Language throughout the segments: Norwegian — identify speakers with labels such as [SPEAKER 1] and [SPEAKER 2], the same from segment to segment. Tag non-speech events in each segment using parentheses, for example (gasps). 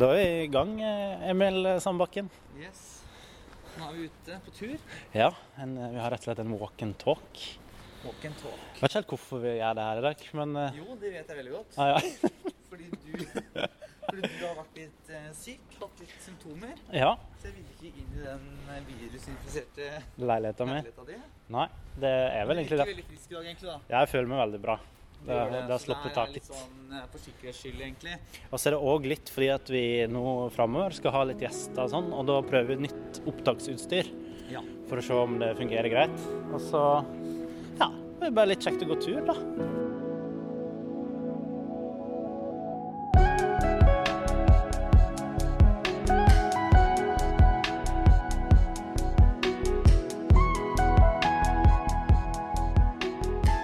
[SPEAKER 1] Da er vi i gang, eh, Emil Sandbakken.
[SPEAKER 2] Yes. Nå er vi ute på tur.
[SPEAKER 1] Ja, en, eh, vi har rett og slett en walk and talk. Jeg
[SPEAKER 2] Walk and talk.
[SPEAKER 1] vet ikke helt hvorfor vi gjør det her i dag, men eh,
[SPEAKER 2] Jo, det vet jeg veldig godt.
[SPEAKER 1] ja, (laughs) ja.
[SPEAKER 2] Fordi du, fordi du har vært litt eh, syk, hatt litt symptomer.
[SPEAKER 1] ja.
[SPEAKER 2] Så jeg ville ikke inn i den eh, virusinfiserte
[SPEAKER 1] Leiligheta mi.
[SPEAKER 2] leiligheta di.
[SPEAKER 1] Nei, det er
[SPEAKER 2] Du
[SPEAKER 1] vel egentlig
[SPEAKER 2] virker
[SPEAKER 1] det.
[SPEAKER 2] veldig frisk i dag, egentlig. da.
[SPEAKER 1] Jeg føler meg veldig bra. Det,
[SPEAKER 2] gjør
[SPEAKER 1] det har
[SPEAKER 2] så
[SPEAKER 1] sluppet
[SPEAKER 2] her er
[SPEAKER 1] taket.
[SPEAKER 2] Litt sånn eh, for sikkerhets skyld, egentlig.
[SPEAKER 1] Og så er det òg litt fordi at vi nå framover skal ha litt gjester og sånn, og da prøver vi nytt opptaksutstyr
[SPEAKER 2] Ja.
[SPEAKER 1] for å se om det fungerer greit. Og så ja, det er bare litt kjekt å gå tur, da.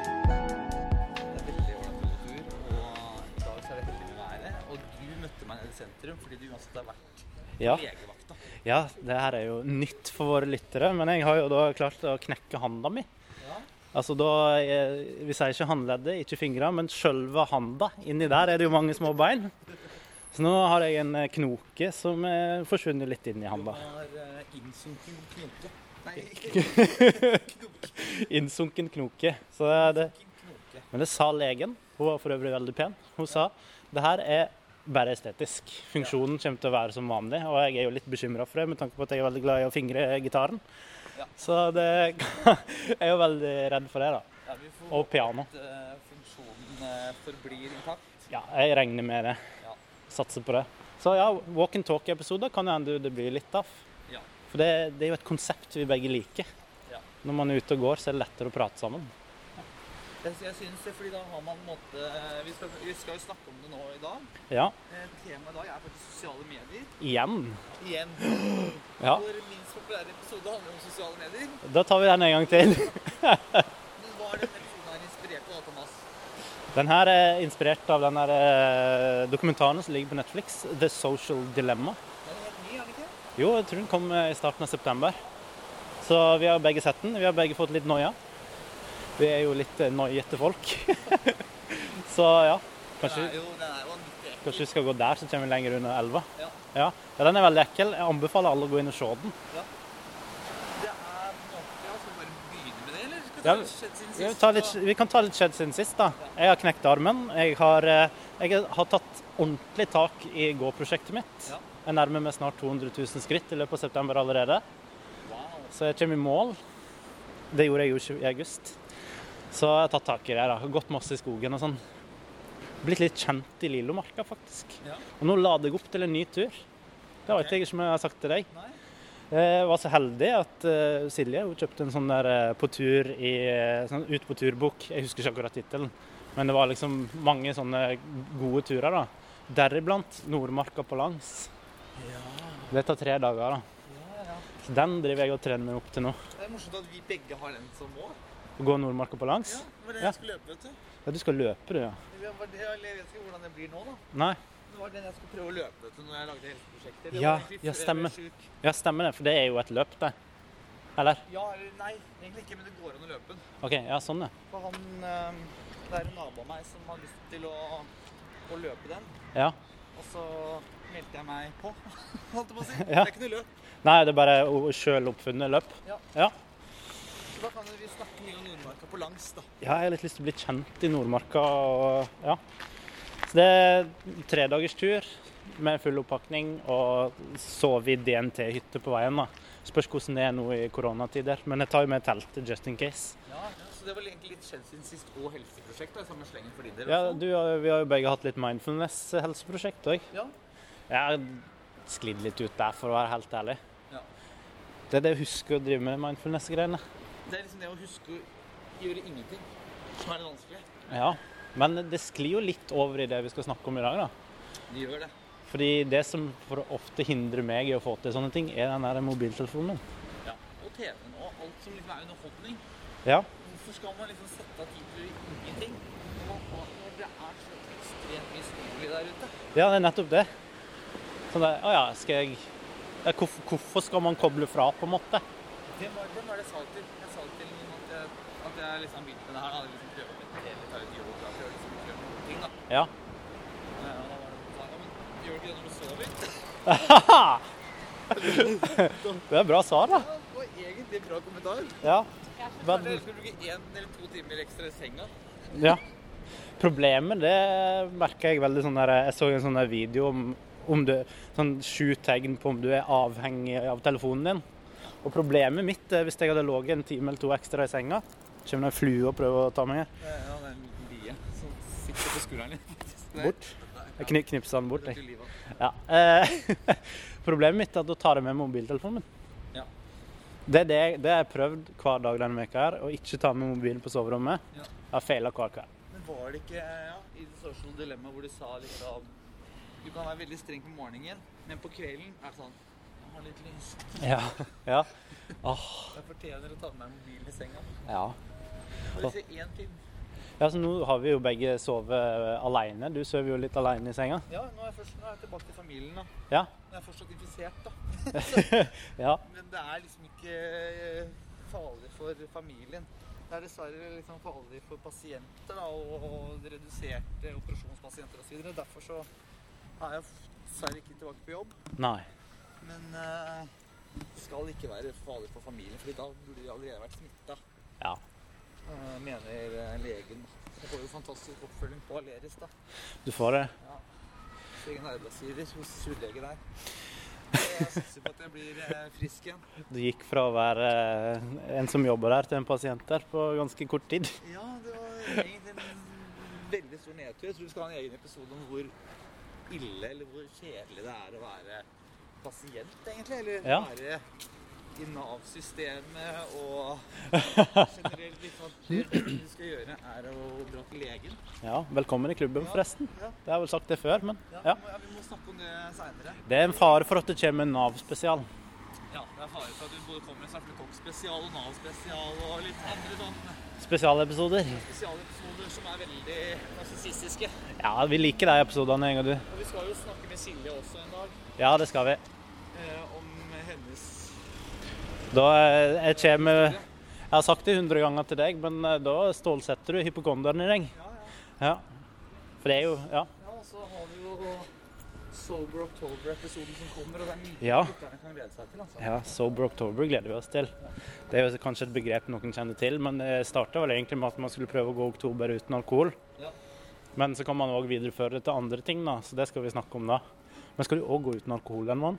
[SPEAKER 2] Det er veldig ålreit å gå på tur, og i dag så er det heldig med været. Og du møtte meg nede i sentrum fordi du uansett har vært
[SPEAKER 1] Ja.
[SPEAKER 2] legevakta.
[SPEAKER 1] Ja, det her er jo nytt for våre lyttere, men jeg har jo da klart å knekke handa mi.
[SPEAKER 2] Ja.
[SPEAKER 1] Altså da, eh, Vi sier ikke håndleddet, ikke fingra, men sjølve handa. Inni der er det jo mange små bein. Så nå har jeg en eh, knoke som er forsvunnet litt inn i
[SPEAKER 2] Du
[SPEAKER 1] handa.
[SPEAKER 2] har eh, innsunken knoke. Nei, ikke
[SPEAKER 1] (laughs)
[SPEAKER 2] knoke.
[SPEAKER 1] Innsunken knoke. Så det er det.
[SPEAKER 2] Ikke knoke.
[SPEAKER 1] Men det sa legen. Hun var for øvrig veldig pen. Hun sa det her er bare estetisk. Funksjonen kommer til å være som vanlig. Og jeg er jo litt bekymra for det, med tanke på at jeg er veldig glad i å fingre gitaren.
[SPEAKER 2] Ja.
[SPEAKER 1] Så det, (laughs) jeg er jo veldig redd for det, da.
[SPEAKER 2] Ja, vi får
[SPEAKER 1] Og piano.
[SPEAKER 2] håpe at eh, funksjonen eh, forblir intakt.
[SPEAKER 1] Ja, jeg regner med det.
[SPEAKER 2] Ja.
[SPEAKER 1] Satser på det. Så ja, walk and talk-episoder kan jo hende det blir litt av.
[SPEAKER 2] Ja.
[SPEAKER 1] For det, det er jo et konsept vi begge liker.
[SPEAKER 2] Ja.
[SPEAKER 1] Når man er ute og går, så er det lettere å prate sammen.
[SPEAKER 2] Jeg, jeg synes det, fordi da har man en måte eh, vi skal, vi skal jo snakke om det nå i dag.
[SPEAKER 1] Ja,
[SPEAKER 2] Eh, Temaet i dag er faktisk sosiale medier.
[SPEAKER 1] igjen.
[SPEAKER 2] Igjen.
[SPEAKER 1] (gasps) Ja,
[SPEAKER 2] Vår minst populære episode handler om sosiale medier.
[SPEAKER 1] da tar vi den en gang til.
[SPEAKER 2] Men hva er denne episoden her inspirert av, da, Thomas?
[SPEAKER 1] Den her er inspirert av den her eh, dokumentaren som ligger på Netflix, 'The Social Dilemma'.
[SPEAKER 2] Den er helt ny, er den ikke?
[SPEAKER 1] Jo, jeg tror den kom eh, i starten av september. Så vi har begge sett den. Vi har begge fått litt noia. Vi er jo litt eh, noiete folk. (laughs) så ja,
[SPEAKER 2] Den
[SPEAKER 1] kanskje
[SPEAKER 2] er jo, den er jo vanvittig ekkel.
[SPEAKER 1] Kanskje vi skal gå der, så kommer vi lenger under elva.
[SPEAKER 2] Ja.
[SPEAKER 1] Ja. ja, Den er veldig ekkel. Jeg anbefaler alle å gå inn og se den.
[SPEAKER 2] Det er på en måte, ja, Skal vi bare begynne med det, eller? Skal vi
[SPEAKER 1] Ja,
[SPEAKER 2] ta litt skjedd siden
[SPEAKER 1] Vi,
[SPEAKER 2] sist,
[SPEAKER 1] tar litt,
[SPEAKER 2] og-
[SPEAKER 1] vi kan ta litt skjedd siden sist, da. Jeg har knekt armen. Jeg har, eh, jeg har tatt ordentlig tak i gåprosjektet mitt.
[SPEAKER 2] Ja.
[SPEAKER 1] Jeg nærmer meg snart 200 000 skritt i løpet av september allerede,
[SPEAKER 2] Wow.
[SPEAKER 1] så jeg kommer i mål. Det gjorde jeg jo ikke i august. Så jeg har tatt tak i det. da. Jeg har gått masse i skogen og sånn. Blitt litt kjent i Lillomarka, faktisk.
[SPEAKER 2] Ja.
[SPEAKER 1] Og nå lader jeg opp til en ny tur. Det vet
[SPEAKER 2] Ok.
[SPEAKER 1] jeg ikke om jeg har sagt til deg.
[SPEAKER 2] Nei.
[SPEAKER 1] Jeg var så heldig at eh, Silje hun kjøpte en sånn der eh, på tur i, eh, sånn Ut på tur-bok. Jeg husker ikke akkurat tittelen, men det var liksom mange sånne gode turer. da. Deriblant Nordmarka på langs.
[SPEAKER 2] Ja.
[SPEAKER 1] Det tar tre dager. da.
[SPEAKER 2] Ja, ja.
[SPEAKER 1] Så Den driver jeg og trener meg opp til nå.
[SPEAKER 2] Det er morsomt at vi begge har den som mål.
[SPEAKER 1] Å gå Nordmarka på langs.
[SPEAKER 2] Ja, det var den
[SPEAKER 1] Ja.
[SPEAKER 2] jeg skulle løpe, vet du.
[SPEAKER 1] Ja, du skal løpe, du, ja.
[SPEAKER 2] Det var det, eller jeg vet ikke hvordan det blir nå, da.
[SPEAKER 1] Nei.
[SPEAKER 2] Det var den jeg skulle prøve å løpe, vet du, når jeg lagde helseprosjekter. Det
[SPEAKER 1] Ja,
[SPEAKER 2] var egentlig
[SPEAKER 1] ja,
[SPEAKER 2] før jeg
[SPEAKER 1] stemmer.
[SPEAKER 2] ble syk.
[SPEAKER 1] Ja, stemmer det, for det er jo et løp, det. Eller?
[SPEAKER 2] Ja, eller nei, egentlig ikke, men det går an å løpe den.
[SPEAKER 1] OK, ja, sånn, ja.
[SPEAKER 2] For han, eh, det er en nabo av meg som har lyst til å, å løpe den.
[SPEAKER 1] ja.
[SPEAKER 2] Og så meldte jeg meg på, (laughs) holdt jeg på å si. Det
[SPEAKER 1] Ja.
[SPEAKER 2] er ikke noe løp.
[SPEAKER 1] Nei, det er bare å- å sjøl oppfunnet løp.
[SPEAKER 2] Ja.
[SPEAKER 1] ja.
[SPEAKER 2] Så da kan vi snakke mye om Nordmarka på langs, da.
[SPEAKER 1] Ja, jeg har litt lyst til å bli kjent i Nordmarka. Og, ja. Så det er tredagers tur med full oppakning og sove i DNT-hytte på veien. da. Spørs hvordan det er nå i koronatider, men jeg tar jo med teltet just in case.
[SPEAKER 2] Ja, ja. Så det var egentlig litt skjedd siden sist, og helseprosjekt, da, i samme slengen for din del.
[SPEAKER 1] Ja,
[SPEAKER 2] også.
[SPEAKER 1] du, har- Vi har jo begge hatt litt mindfulness-helseprosjekt òg.
[SPEAKER 2] Ja.
[SPEAKER 1] Jeg har sklidd litt ut der, for å være helt ærlig.
[SPEAKER 2] Ja.
[SPEAKER 1] Det er det jeg husker å drive med mindfulness-greiene.
[SPEAKER 2] Det er liksom det å huske å gjøre ingenting som er det vanskelige.
[SPEAKER 1] Ja, Men det sklir jo litt over i det vi skal snakke om i dag, da.
[SPEAKER 2] De gjør det.
[SPEAKER 1] Fordi det som for ofte hindrer meg i å få til sånne ting, er den der mobiltelefonen.
[SPEAKER 2] Ja. Og TV-en og alt som liksom er underholdning.
[SPEAKER 1] Ja.
[SPEAKER 2] Hvorfor skal man liksom sette av tid til å gjøre ingenting? Når man har- når det er så ekstremt mye stimuli der ute.
[SPEAKER 1] ja, det er nettopp det. Sånn der, å ja, skal jeg ja, hvorfor, hvorfor skal man koble fra, på en måte?
[SPEAKER 2] Hvem var, hvem var det jeg sa til? Jeg sa til noen at jeg, at jeg liksom har begynt med det her. da. Jeg liksom prøver å meditere litt, ta litt yoga, prøver liksom å gjøre noen ting, da.
[SPEAKER 1] Ja.
[SPEAKER 2] Eh, Og da var det noen som sa, ja, men gjør du ikke ikke det når du sover litt.
[SPEAKER 1] Det er bra svar, da.
[SPEAKER 2] Ja, det var egentlig en bra kommentar.
[SPEAKER 1] Ja. Hva-
[SPEAKER 2] Kanskje jeg skulle bruke én eller to timer ekstra i senga.
[SPEAKER 1] Ja. Problemet, det merker jeg veldig sånn der Jeg så en sånn der video om, om du Sånn sju tegn på om du er avhengig av telefonen din. Og problemet mitt er hvis jeg hadde ligget en time eller to ekstra i senga, kommer det en flue og prøver å ta meg
[SPEAKER 2] Ja, det er en bie som sitter på skulderen litt.
[SPEAKER 1] bort. Jeg kni- knipser den bort, jeg.
[SPEAKER 2] Til livet.
[SPEAKER 1] Ja. Eh, (laughs) problemet mitt er at da tar jeg med mobiltelefonen min.
[SPEAKER 2] Ja.
[SPEAKER 1] Det er det, jeg- det har jeg prøvd hver dag denne veka her, å ikke ta med mobilen på soverommet.
[SPEAKER 2] Ja.
[SPEAKER 1] Jeg har feila hver kveld.
[SPEAKER 2] Men var det ikke ja, i det sosiale dilemmaet hvor de sa liksom Du kan være veldig streng på morgenen, men på kvelden er det sånn Jeg har litt lyst.
[SPEAKER 1] Ja. (laughs) ja.
[SPEAKER 2] Jeg fortjener å ta med meg mobilen i senga.
[SPEAKER 1] ja.
[SPEAKER 2] Bare si én ting.
[SPEAKER 1] Ja, så Nå har vi jo begge sovet eh, alene. Du sover jo litt alene i senga.
[SPEAKER 2] Ja, nå er jeg, først, nå er jeg tilbake til familien, da.
[SPEAKER 1] Ja.
[SPEAKER 2] Jeg er fortsatt infisert, da.
[SPEAKER 1] ja.
[SPEAKER 2] Men det er liksom ikke eh, farlig for familien. Det er dessverre liksom farlig for pasienter da, og, og reduserte operasjonspasienter osv. Derfor så er jeg f- dessverre ikke tilbake på jobb.
[SPEAKER 1] Nei.
[SPEAKER 2] Men eh, det skal ikke være farlig for familien, for da burde de allerede vært smitta,
[SPEAKER 1] Ja.
[SPEAKER 2] mener eh, legen. da. Jeg får jo fantastisk oppfølging på Aleris, da.
[SPEAKER 1] Du får det.
[SPEAKER 2] Hos Egen arbeidsgiver hos hudlege der. Jeg satser på at jeg blir eh, frisk igjen.
[SPEAKER 1] Du gikk fra å være eh, en som jobber der, til en pasient der på ganske kort tid.
[SPEAKER 2] Ja, det var egentlig en veldig stor nedtur. Jeg tror vi skal ha en egen episode om hvor ille eller hvor kjedelig det er å være pasient, egentlig. Eller
[SPEAKER 1] Ja.
[SPEAKER 2] være i Nav-systemet og generelt litt sånn at Det du skal gjøre, er å dra til legen.
[SPEAKER 1] Ja, Velkommen i klubben,
[SPEAKER 2] Ja.
[SPEAKER 1] forresten.
[SPEAKER 2] Ja,
[SPEAKER 1] Det har jeg vel sagt det før, men
[SPEAKER 2] ja,
[SPEAKER 1] ja.
[SPEAKER 2] Vi, må, ja vi må snakke om det seinere.
[SPEAKER 1] Det er en fare for at det kommer en Nav-spesial.
[SPEAKER 2] Ja, det er fare for at du både kommer med Svartlekopp-spesial og Nav-spesial og litt andre sånne
[SPEAKER 1] Spesialepisoder.
[SPEAKER 2] spesialepisoder som er veldig narsissistiske.
[SPEAKER 1] Ja, vi liker de episodene, jeg og du.
[SPEAKER 2] Og vi skal jo snakke med Silje også en dag.
[SPEAKER 1] Ja, det skal vi.
[SPEAKER 2] eh, om hennes
[SPEAKER 1] Da eh, jeg kommer Jeg har sagt det 100 ganger til deg, men eh, da stålsetter du hypokonderen i deg.
[SPEAKER 2] Ja, ja.
[SPEAKER 1] Ja. For det er jo Ja.
[SPEAKER 2] ja og så har vi jo Sober October-episoden som kommer, og det er mye
[SPEAKER 1] Ja.
[SPEAKER 2] lytterne kan glede seg til. altså.
[SPEAKER 1] Ja, Sober October gleder vi oss til. Det er jo kanskje et begrep noen kjenner til, men det starta vel egentlig med at man skulle prøve å gå oktober uten alkohol.
[SPEAKER 2] Ja.
[SPEAKER 1] Men så kan man òg videreføre det til andre ting, da, så det skal vi snakke om da. Men skal du òg gå uten alkohol en måned?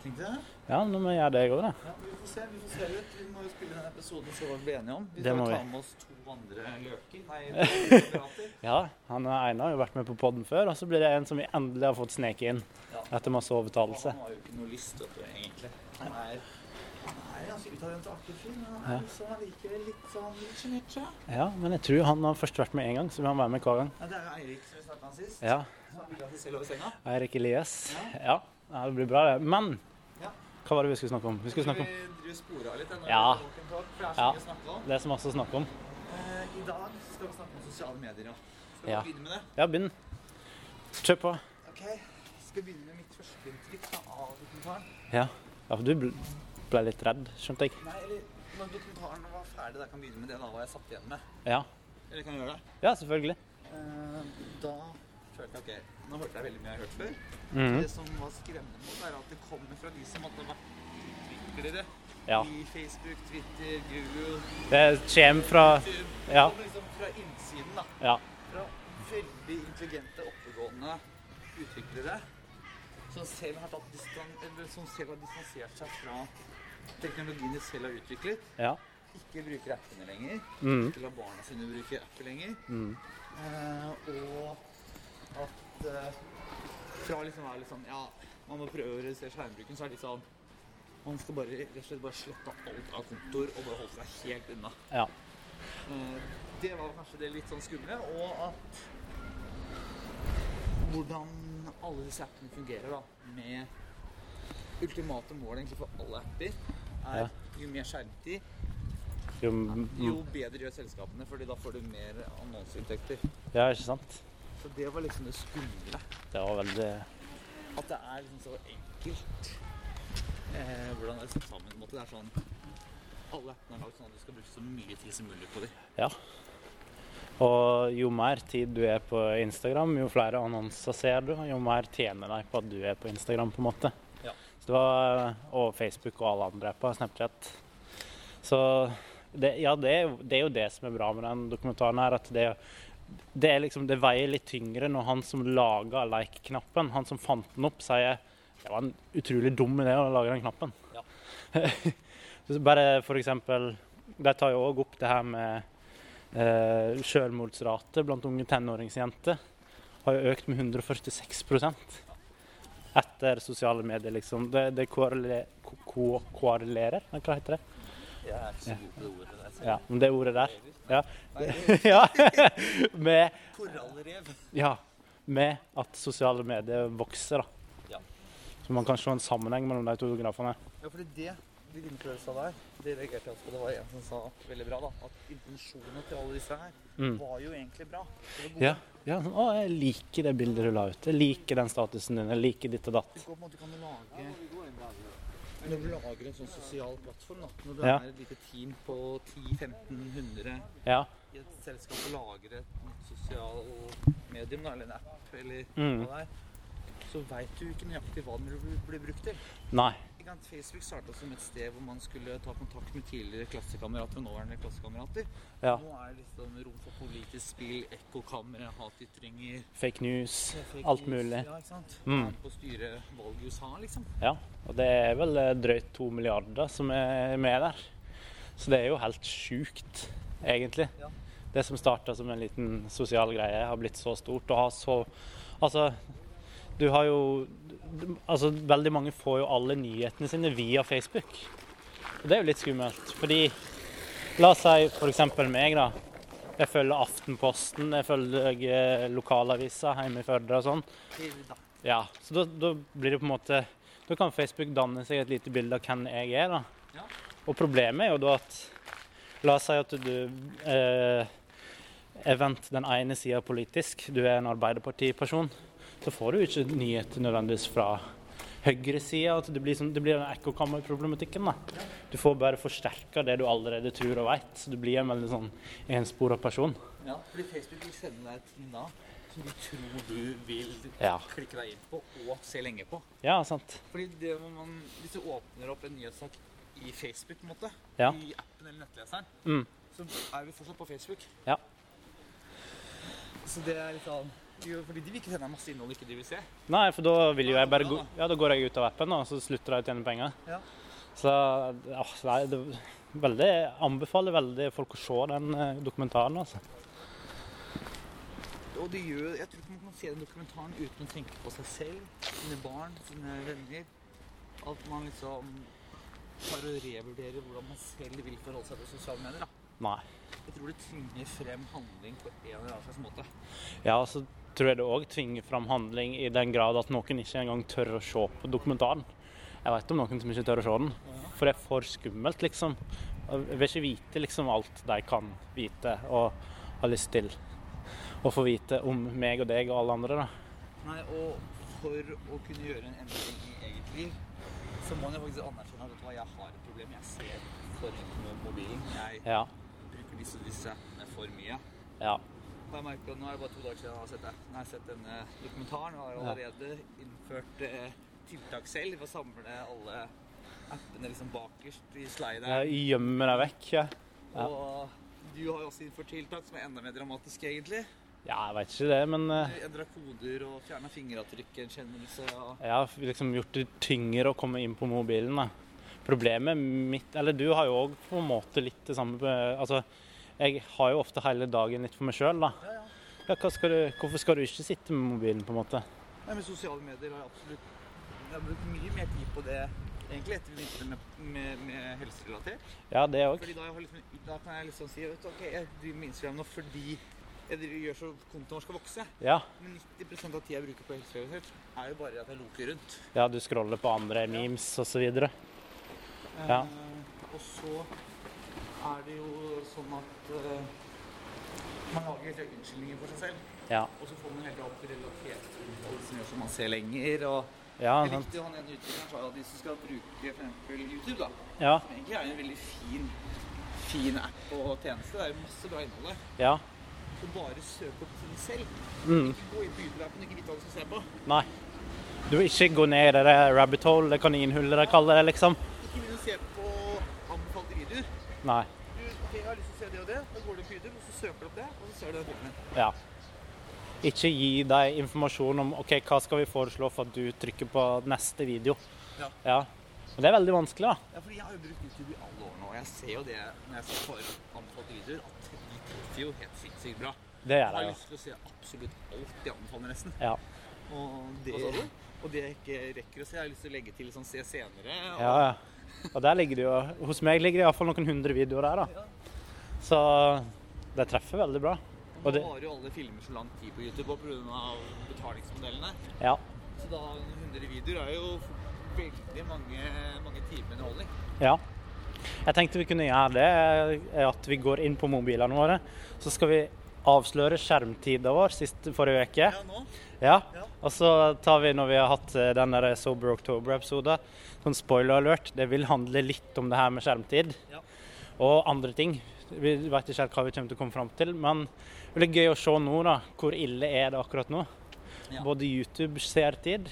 [SPEAKER 2] Jeg tenkte det.
[SPEAKER 1] Ja, nå må jeg gjøre det jeg òg, da.
[SPEAKER 2] Ja, vi får se. Vi får se ut. Vi må jo spille den episoden så vi blir enige om. Vi
[SPEAKER 1] Det
[SPEAKER 2] skal
[SPEAKER 1] må
[SPEAKER 2] jo ta
[SPEAKER 1] vi.
[SPEAKER 2] med oss to
[SPEAKER 1] (laughs)
[SPEAKER 2] andre løker. Nei, to kamerater.
[SPEAKER 1] Ja, han ene har jo vært med på podden før, og så blir det en som vi endelig har fått sneke inn
[SPEAKER 2] Ja.
[SPEAKER 1] etter masse
[SPEAKER 2] Og
[SPEAKER 1] overtalelse.
[SPEAKER 2] han har jo ikke noe lyst, vet du, egentlig. Han er, han er ganske utadvendt og artig fyr, men han
[SPEAKER 1] Ja.
[SPEAKER 2] er liksom allikevel litt sånn litt sjenert, tror jeg.
[SPEAKER 1] Ja, men jeg tror han har først vært med én gang, så vil han være med hver gang.
[SPEAKER 2] Ja, det er jo Eirik som vi snakket om sist.
[SPEAKER 1] Ja,
[SPEAKER 2] Som ville at vi selv lå i senga.
[SPEAKER 1] Eirik Elias. Ja, ja, det blir bra, det. Men
[SPEAKER 2] Ja.
[SPEAKER 1] hva var det vi skulle snakke om? Vi skulle snakke om
[SPEAKER 2] Vi driver spora litt. denne
[SPEAKER 1] Ja.
[SPEAKER 2] walk and talk, for det er så
[SPEAKER 1] Ja.
[SPEAKER 2] mye å snakke om.
[SPEAKER 1] Det er så masse å snakke om.
[SPEAKER 2] Eh, I dag skal vi snakke om sosiale medier, ja. Skal vi
[SPEAKER 1] Ja.
[SPEAKER 2] begynne med det?
[SPEAKER 1] Ja, begynn. Kjør på.
[SPEAKER 2] Ok, skal begynne med mitt førsteinntrykk da, av dokumentaren.
[SPEAKER 1] Ja. ja, for du bl- ble litt redd, skjønte jeg.
[SPEAKER 2] Nei, eller når dokumentaren var ferdig, da jeg kan begynne med det da, hva jeg satt igjen med.
[SPEAKER 1] Ja,
[SPEAKER 2] Eller kan jeg gjøre det?
[SPEAKER 1] ja selvfølgelig.
[SPEAKER 2] Eh, da følte jeg, ok, nå hørte jeg veldig mye jeg har hørt før.
[SPEAKER 1] Mhm.
[SPEAKER 2] Det som var skremmende nå, er at det kommer fra de som hadde vært utviklere
[SPEAKER 1] Ja.
[SPEAKER 2] i Facebook, Twitter, Google,
[SPEAKER 1] Det kommer fra
[SPEAKER 2] YouTube.
[SPEAKER 1] Ja.
[SPEAKER 2] Det kommer liksom fra innsiden da.
[SPEAKER 1] Ja.
[SPEAKER 2] fra veldig intelligente, oppegående utviklere som selv har, tatt distan eller som selv har distansert seg fra teknologien de selv har utviklet.
[SPEAKER 1] ja.
[SPEAKER 2] Ikke bruker appene lenger.
[SPEAKER 1] Mhm.
[SPEAKER 2] Ikke lar barna sine bruke apper lenger.
[SPEAKER 1] Mhm.
[SPEAKER 2] Eh, og at eh, fra liksom å være litt sånn Ja, man må prøve å redusere skjermbruken, så er det litt sånn Man skal bare rett og slett bare slette alt av kontor og bare holde seg helt unna.
[SPEAKER 1] ja.
[SPEAKER 2] Eh, Det var kanskje det litt sånn skumle, og at hvordan alle disse appene fungerer, da, med ultimate mål egentlig for alle apper, er
[SPEAKER 1] Ja. Mm.
[SPEAKER 2] jo mer skjermtid,
[SPEAKER 1] Jo, m-
[SPEAKER 2] jo bedre gjør selskapene, fordi da får du mer annonseinntekter.
[SPEAKER 1] ja, ikke sant?
[SPEAKER 2] Så det var liksom det skumle.
[SPEAKER 1] Det var veldig
[SPEAKER 2] At det er liksom så enkelt eh, hvordan det er satt sammen. på en måte. Det er sånn alle appene er lagd sånn at du skal bruke så mye tid som mulig på dem.
[SPEAKER 1] Ja. Og jo mer tid du er på Instagram, jo flere annonser ser du, og jo mer tjener de på at du er på Instagram, på en måte.
[SPEAKER 2] Ja.
[SPEAKER 1] Så det var, og Facebook og alle andre apper, Snapchat. Så det, ja, det er, jo- det er jo det som er bra med den dokumentaren her, at det, det er liksom, det veier litt tyngre når han som laga like-knappen, han som fant den opp, sier det var en utrolig dum idé å lage den knappen.
[SPEAKER 2] Ja.
[SPEAKER 1] (laughs) Så Bare for eksempel, de tar jo òg opp det her med eh, selvmordsrate blant unge tenåringsjenter. Har jo økt med 146 etter sosiale medier, liksom. Det, det korrele- ko- ko- korrelerer, nei, hva heter det?
[SPEAKER 2] Jeg er ikke så god på det ordet der. så-
[SPEAKER 1] Ja, om det ordet (laughs) der. Ja.
[SPEAKER 2] Nei, det
[SPEAKER 1] ja. med
[SPEAKER 2] er Korallrev.
[SPEAKER 1] ja, med at sosiale medier vokser. da.
[SPEAKER 2] Ja.
[SPEAKER 1] Så man kan se en sammenheng mellom de to grafene.
[SPEAKER 2] Ja, fordi det de innførelsene der, det reagerte jeg også på. Det var en som sa veldig bra, da. At intensjonene til alle disse her
[SPEAKER 1] Mm.
[SPEAKER 2] var jo egentlig bra. Det var gode.
[SPEAKER 1] Ja. ja sånn, å, jeg liker det bildet du la ut. Jeg liker den statusen din. Jeg liker ditt og datt.
[SPEAKER 2] Du kan på en måte kan du lage Når du lager en sånn sosial plattform, da. Når du
[SPEAKER 1] Ja.
[SPEAKER 2] er et lite team på 10-1500
[SPEAKER 1] Ja.
[SPEAKER 2] i et selskap og lager et nytt sosial medium, da, eller en app, eller
[SPEAKER 1] Mm.
[SPEAKER 2] hva det er, så veit du ikke nøyaktig hva den vil bli brukt til.
[SPEAKER 1] Nei.
[SPEAKER 2] Ikke sant, Facebook starta som et sted hvor man skulle ta kontakt med tidligere klassekamerater og nåværende klassekamerater.
[SPEAKER 1] Ja.
[SPEAKER 2] Nå er det liksom rom for politisk spill, ekkokamre, hatytringer
[SPEAKER 1] Fake news.
[SPEAKER 2] fake
[SPEAKER 1] Alt
[SPEAKER 2] news.
[SPEAKER 1] mulig.
[SPEAKER 2] Ja, ikke sant?
[SPEAKER 1] Mm.
[SPEAKER 2] Er På å styre valget i USA, liksom.
[SPEAKER 1] Ja. Og det er vel eh, drøyt to milliarder som er med der. Så det er jo helt sjukt, egentlig.
[SPEAKER 2] Ja.
[SPEAKER 1] Det som starta som en liten sosial greie, har blitt så stort og har så Altså, du har jo Altså, veldig mange får jo alle nyhetene sine via Facebook. Og det er jo litt skummelt, fordi La oss si f.eks. meg, da. Jeg følger Aftenposten, jeg følger eh, lokalaviser hjemme i Førde og sånn.
[SPEAKER 2] Til da.
[SPEAKER 1] Ja, så da, da blir det på en måte Da kan Facebook danne seg et lite bilde av hvem jeg er, da.
[SPEAKER 2] Ja.
[SPEAKER 1] Og problemet er jo da at La oss si at du eh, er vendt den ene sida politisk, du er en Arbeiderpartiperson. Så får du ikke nyheter nødvendigvis fra høyresida. at Det blir, sånn, det blir den ekkokammerproblematikken. da. Du får bare forsterka det du allerede tror og veit. Så du blir en veldig sånn enspora person.
[SPEAKER 2] Ja, fordi Facebook vil sende deg et ting da som de tror du vil
[SPEAKER 1] Ja.
[SPEAKER 2] klikke deg inn på og se lenge på.
[SPEAKER 1] Ja, sant.
[SPEAKER 2] Fordi det må man, Hvis du åpner opp en nyhetssak i Facebook, på en måte,
[SPEAKER 1] Ja.
[SPEAKER 2] i appen eller nettleseren,
[SPEAKER 1] Mm.
[SPEAKER 2] så er vi fortsatt på Facebook.
[SPEAKER 1] Ja.
[SPEAKER 2] Så det er litt sånn jo, Fordi de vil ikke sende deg masse innhold ikke de vil se.
[SPEAKER 1] Nei, for da vil jo jeg bare gå Ja, da går jeg ut av appen, da, og så slutter jeg å tjene penger.
[SPEAKER 2] Ja.
[SPEAKER 1] Så ja, nei, det veldig, jeg anbefaler veldig folk å se den eh, dokumentaren, altså.
[SPEAKER 2] Og det gjør, jeg tror ikke man kan se den dokumentaren uten å tenke på seg selv, sine barn, sine venner. At man liksom tar og revurderer hvordan man selv vil forholde seg til sosiale medier. da.
[SPEAKER 1] Nei.
[SPEAKER 2] Jeg tror det tvinger frem handling på en eller annen slags måte.
[SPEAKER 1] Ja, og så tror jeg det òg tvinger fram handling i den grad at noen ikke engang tør å se på dokumentaren. Jeg veit om noen som ikke tør å se den, for det er for skummelt, liksom. Og Jeg vil ikke vite liksom alt de kan vite og har lyst til å få vite om meg og deg og alle andre, da.
[SPEAKER 2] Nei, og for å kunne gjøre en endring i eget liv, så må man jo faktisk anerkjenne at vet du hva, jeg har et problem. Jeg ser for mye på mobilen. Jeg
[SPEAKER 1] Ja.
[SPEAKER 2] bruker disse og disse appene for mye.
[SPEAKER 1] Ja.
[SPEAKER 2] Og jeg merker at nå er det bare to dager siden jeg har sett, det. Nå har jeg sett denne dokumentaren, og har allerede innført eh, tiltak selv ved å samle alle appene liksom bakerst i
[SPEAKER 1] Jeg
[SPEAKER 2] slideren.
[SPEAKER 1] gjemmer deg vekk, jeg. ja.
[SPEAKER 2] Og du har jo også innført tiltak som er enda mer dramatiske, egentlig.
[SPEAKER 1] Ja, jeg veit ikke det, men eh,
[SPEAKER 2] Du endra koder og fjerna fingeravtrykkgjenkjennelse og
[SPEAKER 1] jeg har liksom gjort det tyngre å komme inn på mobilen. Da. Problemet mitt Eller du har jo òg på en måte litt det samme eh, Altså, jeg har jo ofte hele dagen litt for meg sjøl, da.
[SPEAKER 2] Ja, ja.
[SPEAKER 1] Ja, hva skal du, hvorfor skal du ikke sitte med mobilen, på en måte?
[SPEAKER 2] Nei, men sosiale medier har jeg absolutt Jeg har brukt mye mer tid på det egentlig etter vi begynte med, med, med helserelatert.
[SPEAKER 1] Ja, det òg.
[SPEAKER 2] Fordi da, jeg har liksom, da kan jeg liksom si vet du, ok, jeg driver med Instagram nå fordi jeg driver, gjør så kontoen vår skal vokse.
[SPEAKER 1] Ja.
[SPEAKER 2] Men 90 av tida jeg bruker på helserelatert, er jo bare at jeg loker rundt.
[SPEAKER 1] ja, du scroller på andre memes osv. Ja.
[SPEAKER 2] Eh, og så er det jo sånn at eh, man lager helt unnskyldninger for seg selv.
[SPEAKER 1] Ja.
[SPEAKER 2] Og så får man helt opp relatert til folk som gjør som man ser lenger. og...
[SPEAKER 1] Ja,
[SPEAKER 2] Jeg
[SPEAKER 1] sant.
[SPEAKER 2] likte jo han ene utvikleren sa at de som skal bruke for eksempel YouTube, da,
[SPEAKER 1] Ja.
[SPEAKER 2] som egentlig er en veldig fin, fin app og tjeneste, det er jo masse bra innhold der,
[SPEAKER 1] ja.
[SPEAKER 2] og bare søke opp ting selv.
[SPEAKER 1] Mm.
[SPEAKER 2] Ikke gå i bydrapen og ikke vite hva du skal se på.
[SPEAKER 1] Nei. Du vil ikke gå ned i det der rabbit hole, det kaninhullet de kaller det, liksom.
[SPEAKER 2] Ikke begynne å se på anbefalte videoer.
[SPEAKER 1] Nei.
[SPEAKER 2] Du, ok, jeg har lyst til å se det og det. Da går du på YouTube, og så søker du opp det, og så ser du den filmen.
[SPEAKER 1] Ja. Ikke gi deg informasjon om ok, hva skal vi foreslå for at du trykker på neste video.
[SPEAKER 2] Ja.
[SPEAKER 1] Men det er veldig vanskelig, da.
[SPEAKER 2] Ja, fordi jeg har jo brukt YouTube i alle år nå, og jeg ser jo det når jeg ser for anbefalte videoer, at de treffer jo helt sinnssykt bra.
[SPEAKER 1] Det
[SPEAKER 2] Jeg
[SPEAKER 1] gjør
[SPEAKER 2] har
[SPEAKER 1] jeg jo.
[SPEAKER 2] lyst til å se absolutt alt de anbefaler, nesten.
[SPEAKER 1] Ja.
[SPEAKER 2] Og det,
[SPEAKER 3] Hva sa du?
[SPEAKER 2] og det jeg ikke rekker å se, jeg har lyst til å legge til sånn se senere. Og,
[SPEAKER 1] Ja, ja. Og der ligger det jo Hos meg ligger det iallfall noen hundre videoer der, da.
[SPEAKER 2] Ja.
[SPEAKER 1] Så det treffer veldig bra.
[SPEAKER 2] og
[SPEAKER 1] Og
[SPEAKER 2] Nå
[SPEAKER 1] det,
[SPEAKER 2] varer jo alle filmer så lang tid på YouTube pga. betalingsmodellene.
[SPEAKER 1] ja.
[SPEAKER 2] Så da 100 videoer er jo veldig mange, mange timer underholdning.
[SPEAKER 1] ja. Jeg tenkte vi kunne gjøre det, eh, at vi går inn på mobilene våre. Så skal vi avsløre skjermtida vår sist forrige uke.
[SPEAKER 2] Ja, nå.
[SPEAKER 1] Ja.
[SPEAKER 2] Ja.
[SPEAKER 1] Og så tar vi, når vi har hatt eh, den der Sober October-episoden, sånn spoiler alert. Det vil handle litt om det her med skjermtid
[SPEAKER 2] Ja.
[SPEAKER 1] og andre ting. Vi vet ikke helt hva vi kommer til å komme fram til, men det blir gøy å se nå, da. Hvor ille er det akkurat nå?
[SPEAKER 2] Ja.
[SPEAKER 1] Både YouTube-seertid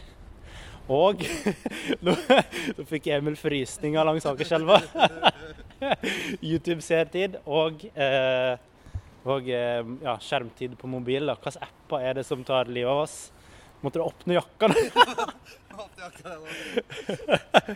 [SPEAKER 1] og (laughs) nå, nå fikk Emil frysninger langs Akerselva. (laughs) YouTube-seertid og eh, og eh, ja, skjermtid på mobil. Da. Hvilke apper er det som tar livet av oss? Måtte du åpne jakka? nå? (laughs)
[SPEAKER 2] Håper jeg akkurat det nå.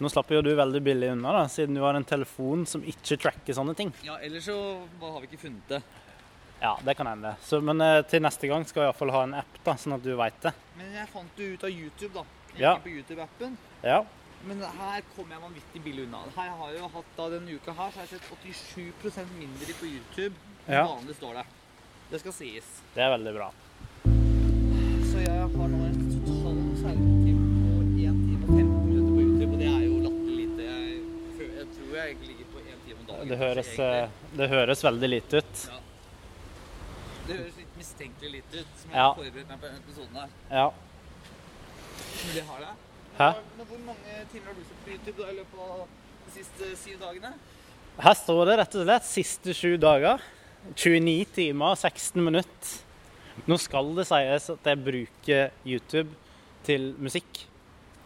[SPEAKER 1] Nå slapp jo du veldig billig unna, da, siden du har en telefon som ikke tracker sånne ting.
[SPEAKER 2] Ja, ellers så bare har vi ikke funnet det.
[SPEAKER 1] Ja, det kan hende. Så, men eh, til neste gang skal jeg iallfall ha en app, da, sånn at du veit det.
[SPEAKER 2] Men jeg fant det ut av YouTube, da. Jeg
[SPEAKER 1] Ja.
[SPEAKER 2] gikk på YouTube-appen.
[SPEAKER 1] Ja.
[SPEAKER 2] Men her kom jeg vanvittig billig unna. Her har jeg jo hatt da Denne uka her så har jeg sett 87 mindre på YouTube enn
[SPEAKER 1] Ja.
[SPEAKER 2] vanlig står det. Det skal sies.
[SPEAKER 1] Det er veldig bra.
[SPEAKER 2] Så jeg har nå en total skjermtid på 1 time og 15 minutter på YouTube, og det er jo latterlig lite. Jeg, fø- jeg tror jeg ligger på 1 time om dagen.
[SPEAKER 1] Det høres, eh,
[SPEAKER 2] egentlig.
[SPEAKER 1] det høres veldig lite ut.
[SPEAKER 2] Det høres litt mistenkelig litt ut, som jeg
[SPEAKER 1] Ja.
[SPEAKER 2] har forberedt meg på denne episoden her.
[SPEAKER 1] Ja.
[SPEAKER 2] Men det har det.
[SPEAKER 1] Hæ?
[SPEAKER 2] Men hvor mange timer har du sett på YouTube da i løpet av de siste syv dagene?
[SPEAKER 1] Her står det rett og slett siste sju dager. 29 timer og 16 minutter. Nå skal det sies at jeg bruker YouTube til musikk.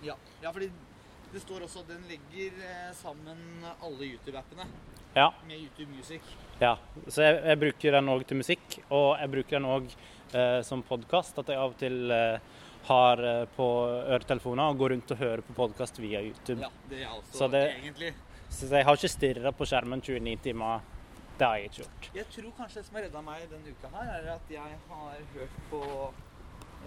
[SPEAKER 2] Ja, ja fordi det står også at den legger eh, sammen alle YouTube-appene
[SPEAKER 1] Ja.
[SPEAKER 2] med YouTube Music.
[SPEAKER 1] ja. Så jeg, jeg bruker den òg til musikk, og jeg bruker den òg eh, som podkast. At jeg av og til eh, har eh, på øretelefoner og går rundt og hører på podkast via YouTube.
[SPEAKER 2] Ja, det er altså
[SPEAKER 1] Så det-
[SPEAKER 2] egentlig.
[SPEAKER 1] Så jeg har ikke stirra på skjermen 29 timer. Det har jeg ikke gjort.
[SPEAKER 2] Jeg tror kanskje det som har redda meg denne uka her, er at jeg har hørt på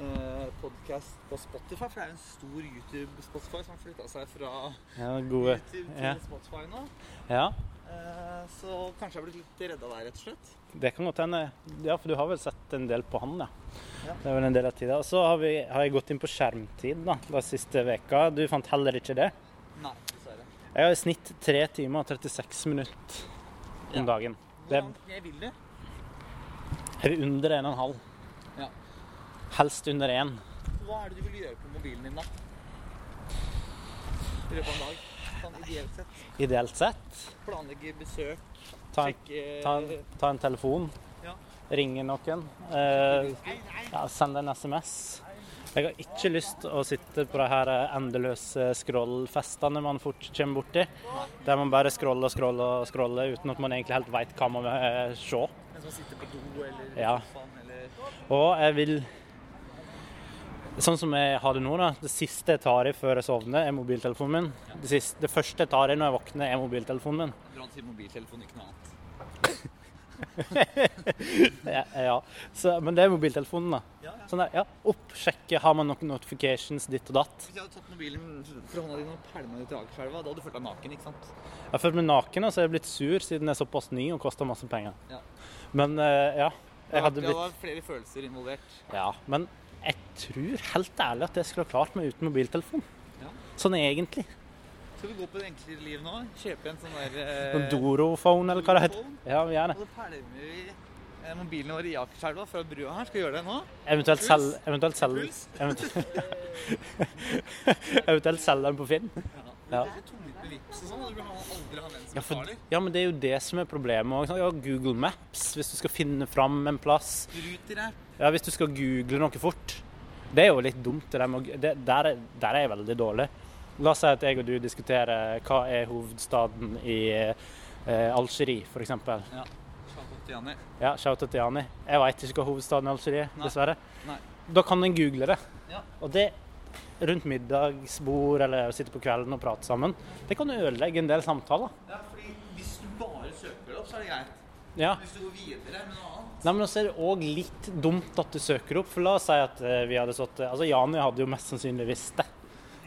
[SPEAKER 2] eh, podkast på Spotify. For det er jo en stor YouTube-Spotify som har flytta seg fra
[SPEAKER 1] Ja, gode.
[SPEAKER 2] YouTube til
[SPEAKER 1] Ja.
[SPEAKER 2] Spotify nå.
[SPEAKER 1] Ja,
[SPEAKER 2] Eh, så kanskje jeg har blitt litt redda der, rett og slett.
[SPEAKER 1] Det kan godt hende. Ja, for du har vel sett en del på han, ja.
[SPEAKER 2] Ja.
[SPEAKER 1] Det er vel en del av tida. Og så har, vi- har jeg gått inn på skjermtid da, den siste veka. Du fant heller ikke det.
[SPEAKER 2] Nei, dessverre.
[SPEAKER 1] Jeg har i snitt 3 timer og 36 minutter om
[SPEAKER 2] Ja.
[SPEAKER 1] dagen. Det-
[SPEAKER 2] Hvordan jeg vil det?
[SPEAKER 1] Jeg er under 1,5.
[SPEAKER 2] Ja.
[SPEAKER 1] Helst under 1.
[SPEAKER 2] Hva er det du vil gjøre på mobilen din, da? I løpet av en dag. Sånn ideelt sett.
[SPEAKER 1] Ideelt sett.
[SPEAKER 2] Planlegge besøk,
[SPEAKER 1] Ta en,
[SPEAKER 2] sjekke
[SPEAKER 1] ta en, ta en telefon.
[SPEAKER 2] Ja.
[SPEAKER 1] Ringe noen. Eh,
[SPEAKER 2] Nei, nei,
[SPEAKER 1] ja, send en SMS. Jeg har ikke lyst til å sitte på de her endeløse scrollfestene man fort kommer borti. Der man bare scroller og scroller og scroller uten at man egentlig helt veit hva man vil eh, se.
[SPEAKER 2] mens man sitter på do eller
[SPEAKER 1] Ja.
[SPEAKER 2] sofaen eller
[SPEAKER 1] Og jeg vil Sånn som jeg har det nå, da. Det siste jeg tar i før jeg sovner, er mobiltelefonen min. Det, siste, det første jeg tar i når jeg våkner, er mobiltelefonen min.
[SPEAKER 2] Dra til mobiltelefonen, ikke noe annet.
[SPEAKER 1] Ja, ja. Så, men det er mobiltelefonen, da.
[SPEAKER 2] Ja, ja.
[SPEAKER 1] Sånn der, ja. Opp, sjekke, har man noen notifications, ditt og datt.
[SPEAKER 2] Hvis jeg hadde tatt mobilen fra hånda di og pælma den ut i Akerselva, da hadde du følt deg naken, ikke sant?
[SPEAKER 1] Jeg har følt meg naken, og så er jeg blitt sur siden jeg er såpass ny og koster masse penger.
[SPEAKER 2] Ja.
[SPEAKER 1] Men eh, ja, jeg hadde
[SPEAKER 2] Det
[SPEAKER 1] blitt
[SPEAKER 2] var flere følelser involvert.
[SPEAKER 1] Ja, men jeg tror helt ærlig at jeg skulle ha klart meg uten mobiltelefon.
[SPEAKER 2] Ja. Eh,
[SPEAKER 1] Sånn egentlig.
[SPEAKER 2] Skal vi gå på det enklere liv nå? Kjøpe en sånn der eh,
[SPEAKER 1] Sånn Doro-phone, eller hva det heter.
[SPEAKER 2] phone?
[SPEAKER 1] Ja, gjerne.
[SPEAKER 2] Og da pælmer vi eh, mobilene våre i Akerselva fra brua her. Skal vi gjøre det nå?
[SPEAKER 1] Eventuelt
[SPEAKER 2] Puls?
[SPEAKER 1] selge eventuelt selge
[SPEAKER 2] Puls?
[SPEAKER 1] eventu- (laughs) Eventuelt selge den på Finn. Ja.
[SPEAKER 2] Ja. Det er så tungvint med vips og sånn, og du kan aldri ha
[SPEAKER 1] Ja, for,
[SPEAKER 2] mensenfarlig.
[SPEAKER 1] ja, men det er jo det som er problemet òg. Ja, Google Maps, hvis du skal finne fram en plass.
[SPEAKER 2] Ruter-app.
[SPEAKER 1] Ja, Hvis du skal google noe fort. Det er jo litt dumt. det Der, med, å- det, der, er- der er jeg veldig dårlig. La oss si at jeg og du diskuterer hva er hovedstaden i eh, Algerie, f.eks.
[SPEAKER 2] Slapp opp til Janni.
[SPEAKER 1] Ja, shout-out til Jani. Jeg veit ikke hva hovedstaden i Algerie er,
[SPEAKER 2] Nei.
[SPEAKER 1] dessverre.
[SPEAKER 2] Nei.
[SPEAKER 1] Da kan en google det.
[SPEAKER 2] Ja.
[SPEAKER 1] Og det rundt middagsbord eller sitte på kvelden og prate sammen, det kan ødelegge en del samtaler.
[SPEAKER 2] Ja, fordi hvis du bare søker det opp, så er det greit.
[SPEAKER 1] Ja.
[SPEAKER 2] Hvis du går videre med noe annet
[SPEAKER 1] Nei, men også er det òg litt dumt at du søker opp, for la oss si at eh, vi hadde stått Altså, Jani hadde jo mest sannsynlig visst det.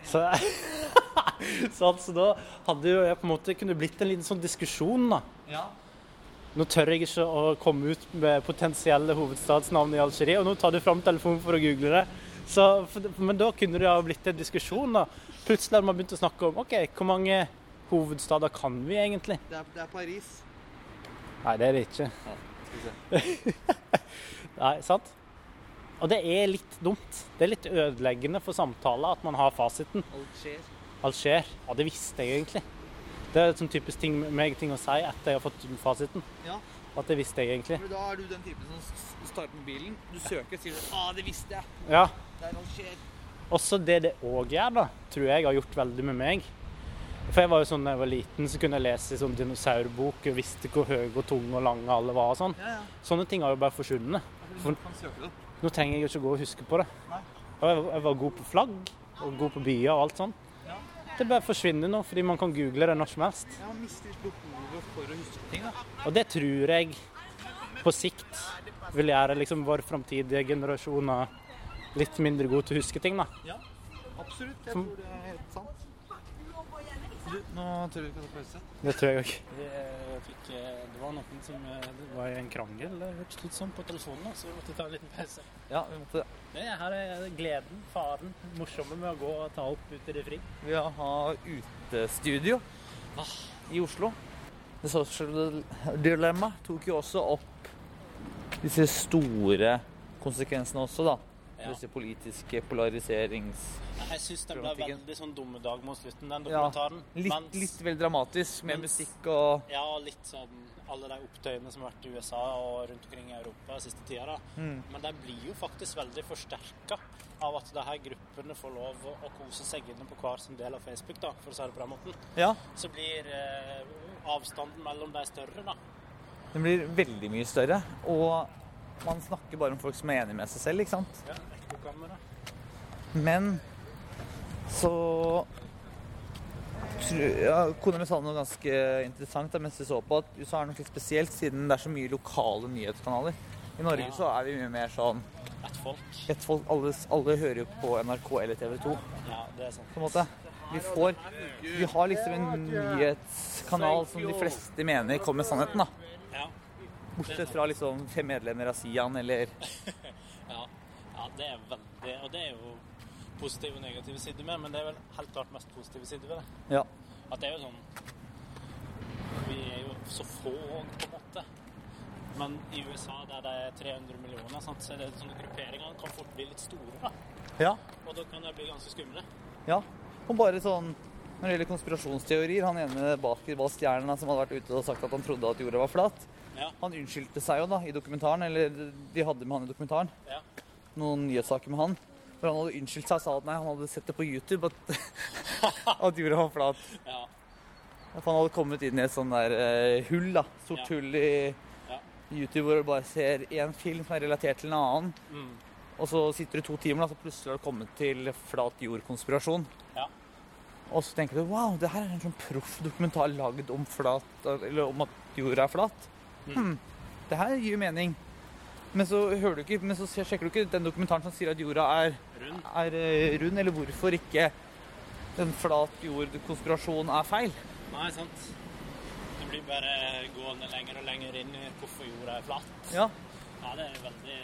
[SPEAKER 1] Så, (laughs) så altså, da hadde jo jeg på en måte kunne det blitt en liten sånn diskusjon, da.
[SPEAKER 2] Ja.
[SPEAKER 1] Nå tør jeg ikke å komme ut med potensielle hovedstadsnavn i Algerie, og nå tar du fram telefonen for å google det. Så, for, men da kunne det ha blitt en diskusjon, da. Plutselig hadde man begynt å snakke om OK, hvor mange hovedstader kan vi egentlig?
[SPEAKER 2] Det er, det er Paris.
[SPEAKER 1] Nei, det er det ikke.
[SPEAKER 2] Skal vi se.
[SPEAKER 1] (laughs) Nei, sant? Og det er litt dumt. Det er litt ødeleggende for samtaler at man har fasiten.
[SPEAKER 2] Alger.
[SPEAKER 1] Alt skjer. Ja, det visste jeg egentlig. Det er sånn typisk ting, meg ting å si etter jeg har fått fasiten.
[SPEAKER 2] Ja.
[SPEAKER 1] At det visste jeg egentlig.
[SPEAKER 2] For da er du den typen som s- starter mobilen. Du søker og sier du, ah, det visste jeg.
[SPEAKER 1] Ja.
[SPEAKER 2] Det er Alger.
[SPEAKER 1] Også det det òg gjør, da, tror jeg har gjort veldig med meg. For jeg var jo sånn da jeg var liten, så kunne jeg lese i sånn dinosaurbok og visste hvor høye og tunge og lange alle var og sånn.
[SPEAKER 2] Ja, ja.
[SPEAKER 1] Sånne ting har jo bare forsvunnet. For-
[SPEAKER 2] Du kan søke det opp.
[SPEAKER 1] Nå trenger jeg jo ikke gå og huske på det.
[SPEAKER 2] Nei.
[SPEAKER 1] Og jeg, jeg var god på flagg og god på byer og alt sånn.
[SPEAKER 2] Ja.
[SPEAKER 1] Det bare forsvinner nå, fordi man kan google det når som helst.
[SPEAKER 2] Ja, man mister litt behovet for å huske ting, da.
[SPEAKER 1] Og det tror jeg på sikt vil gjøre liksom vår framtidige generasjoner litt mindre gode til å huske ting, da.
[SPEAKER 2] Ja. Absolutt. Jeg
[SPEAKER 1] Som-
[SPEAKER 2] tror det er helt sant. Du, nå tør du ikke å ta pause.
[SPEAKER 1] Det tror jeg òg. Det var noen som eh, Det var en krangel, det hørtes ut som, på telefonen, så vi måtte ta en liten pause.
[SPEAKER 2] Ja, vi måtte det.
[SPEAKER 1] her er eh, gleden, faren, morsomme med å gå og ta opp ut i det fri.
[SPEAKER 2] Vi har utestudio Ah. i Oslo. The Social Dilemma tok jo også opp disse store konsekvensene også, da.
[SPEAKER 1] Ja.
[SPEAKER 2] Disse politiske polariserings...
[SPEAKER 1] Jeg syns den ble
[SPEAKER 2] Problematikken.
[SPEAKER 1] veldig sånn dummedag mot slutten, den
[SPEAKER 2] Ja,
[SPEAKER 1] dokumentaren.
[SPEAKER 2] litt,
[SPEAKER 1] Mens-
[SPEAKER 2] litt vel dramatisk med
[SPEAKER 1] mens-
[SPEAKER 2] musikk og
[SPEAKER 1] Ja, litt sånn alle de opptøyene som har vært i USA og rundt omkring i Europa siste tida. da.
[SPEAKER 2] Mm.
[SPEAKER 1] Men de blir jo faktisk veldig forsterka av at de her gruppene får lov å, å kose seg inne på hver sin del av Facebook, da, for å si det på den måten.
[SPEAKER 2] Ja,
[SPEAKER 1] Så blir eh, avstanden mellom de større, da.
[SPEAKER 2] den blir veldig mye større. Og man snakker bare om folk som er enige med seg selv, ikke sant?
[SPEAKER 1] Ja, ekkokamera.
[SPEAKER 2] Men så tru- ja, Kona mi sa noe ganske interessant da, mens vi så på, at USA er nok litt spesielt siden det er så mye lokale nyhetskanaler. I Norge
[SPEAKER 1] Ja.
[SPEAKER 2] så er vi mye mer sånn
[SPEAKER 1] Ett folk.
[SPEAKER 2] ett folk, alle, alle hører jo på NRK eller TV 2,
[SPEAKER 1] Ja, det er sant.
[SPEAKER 2] på en måte. Vi får Vi har liksom en nyhetskanal som de fleste mener kommer med sannheten, da.
[SPEAKER 1] Ja,
[SPEAKER 2] Bortsett fra liksom fem medlemmer av Sian eller
[SPEAKER 1] ja, ja det er veldig Og det er jo positive og negative sider med, men det er vel helt klart mest positive sider ved det.
[SPEAKER 2] Ja.
[SPEAKER 1] At det er jo sånn Vi er jo så få òg, på en måte. Men i USA, der det er 300 millioner, sant, så er det sånne grupperinger kan fort bli litt store. da.
[SPEAKER 2] Ja.
[SPEAKER 1] Og da kan de bli ganske skumle.
[SPEAKER 2] Ja. Og bare sånn når det gjelder konspirasjonsteorier Han ene basketballstjernen som hadde vært ute og sagt at han trodde at jorda var flat,
[SPEAKER 1] Ja,
[SPEAKER 2] han unnskyldte seg jo da i dokumentaren, eller de hadde med han i dokumentaren,
[SPEAKER 1] ja.
[SPEAKER 2] noen nyhetssaker med han. Hvor han hadde unnskyldt seg og sa at nei, han hadde sett det på YouTube at, (laughs) at jorda var flat.
[SPEAKER 1] ja.
[SPEAKER 2] At han hadde kommet inn i et sånn der eh, hull, da. Stort
[SPEAKER 1] Ja.
[SPEAKER 2] hull i
[SPEAKER 1] Ja.
[SPEAKER 2] YouTube hvor du bare ser én film som er relatert til en annen,
[SPEAKER 1] Mm.
[SPEAKER 2] og så sitter du to timer, da, så plutselig har du kommet til flat jord-konspirasjon.
[SPEAKER 1] Ja.
[SPEAKER 2] Og så tenker du wow, det her er en sånn proff dokumentar lagd om, flat, eller om at jorda er flat.
[SPEAKER 1] Mm.
[SPEAKER 2] Hmm, det her gir jo mening. Men så, hører du ikke, men så ser- sjekker du ikke den dokumentaren som sier at jorda er,
[SPEAKER 1] Rund.
[SPEAKER 2] er eh, rund, eller hvorfor ikke den flat jord-konspirasjonen er feil.
[SPEAKER 1] Nei, sant. Det blir bare gående lenger og lenger inn i hvorfor jorda er flat.
[SPEAKER 2] Ja.
[SPEAKER 1] Ja, det er veldig,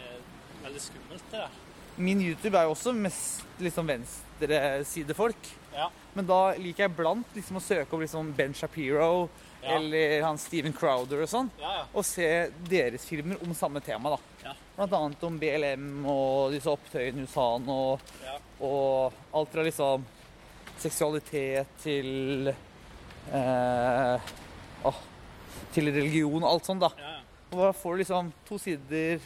[SPEAKER 1] veldig skummelt, det der.
[SPEAKER 2] Min YouTube er jo også mest liksom venstresidefolk.
[SPEAKER 1] Ja.
[SPEAKER 2] Men da liker jeg blant liksom å søke opp liksom Ben Shapiro
[SPEAKER 1] Ja.
[SPEAKER 2] eller han Steven Crowder og sånn,
[SPEAKER 1] Ja, ja.
[SPEAKER 2] og se deres filmer om samme tema. da.
[SPEAKER 1] Ja.
[SPEAKER 2] Blant annet om BLM og disse opptøyene i USA og,
[SPEAKER 1] Ja.
[SPEAKER 2] og alt fra liksom seksualitet til eh, åh, til religion og alt sånt. da.
[SPEAKER 1] ja, ja.
[SPEAKER 2] Og da får du liksom to sider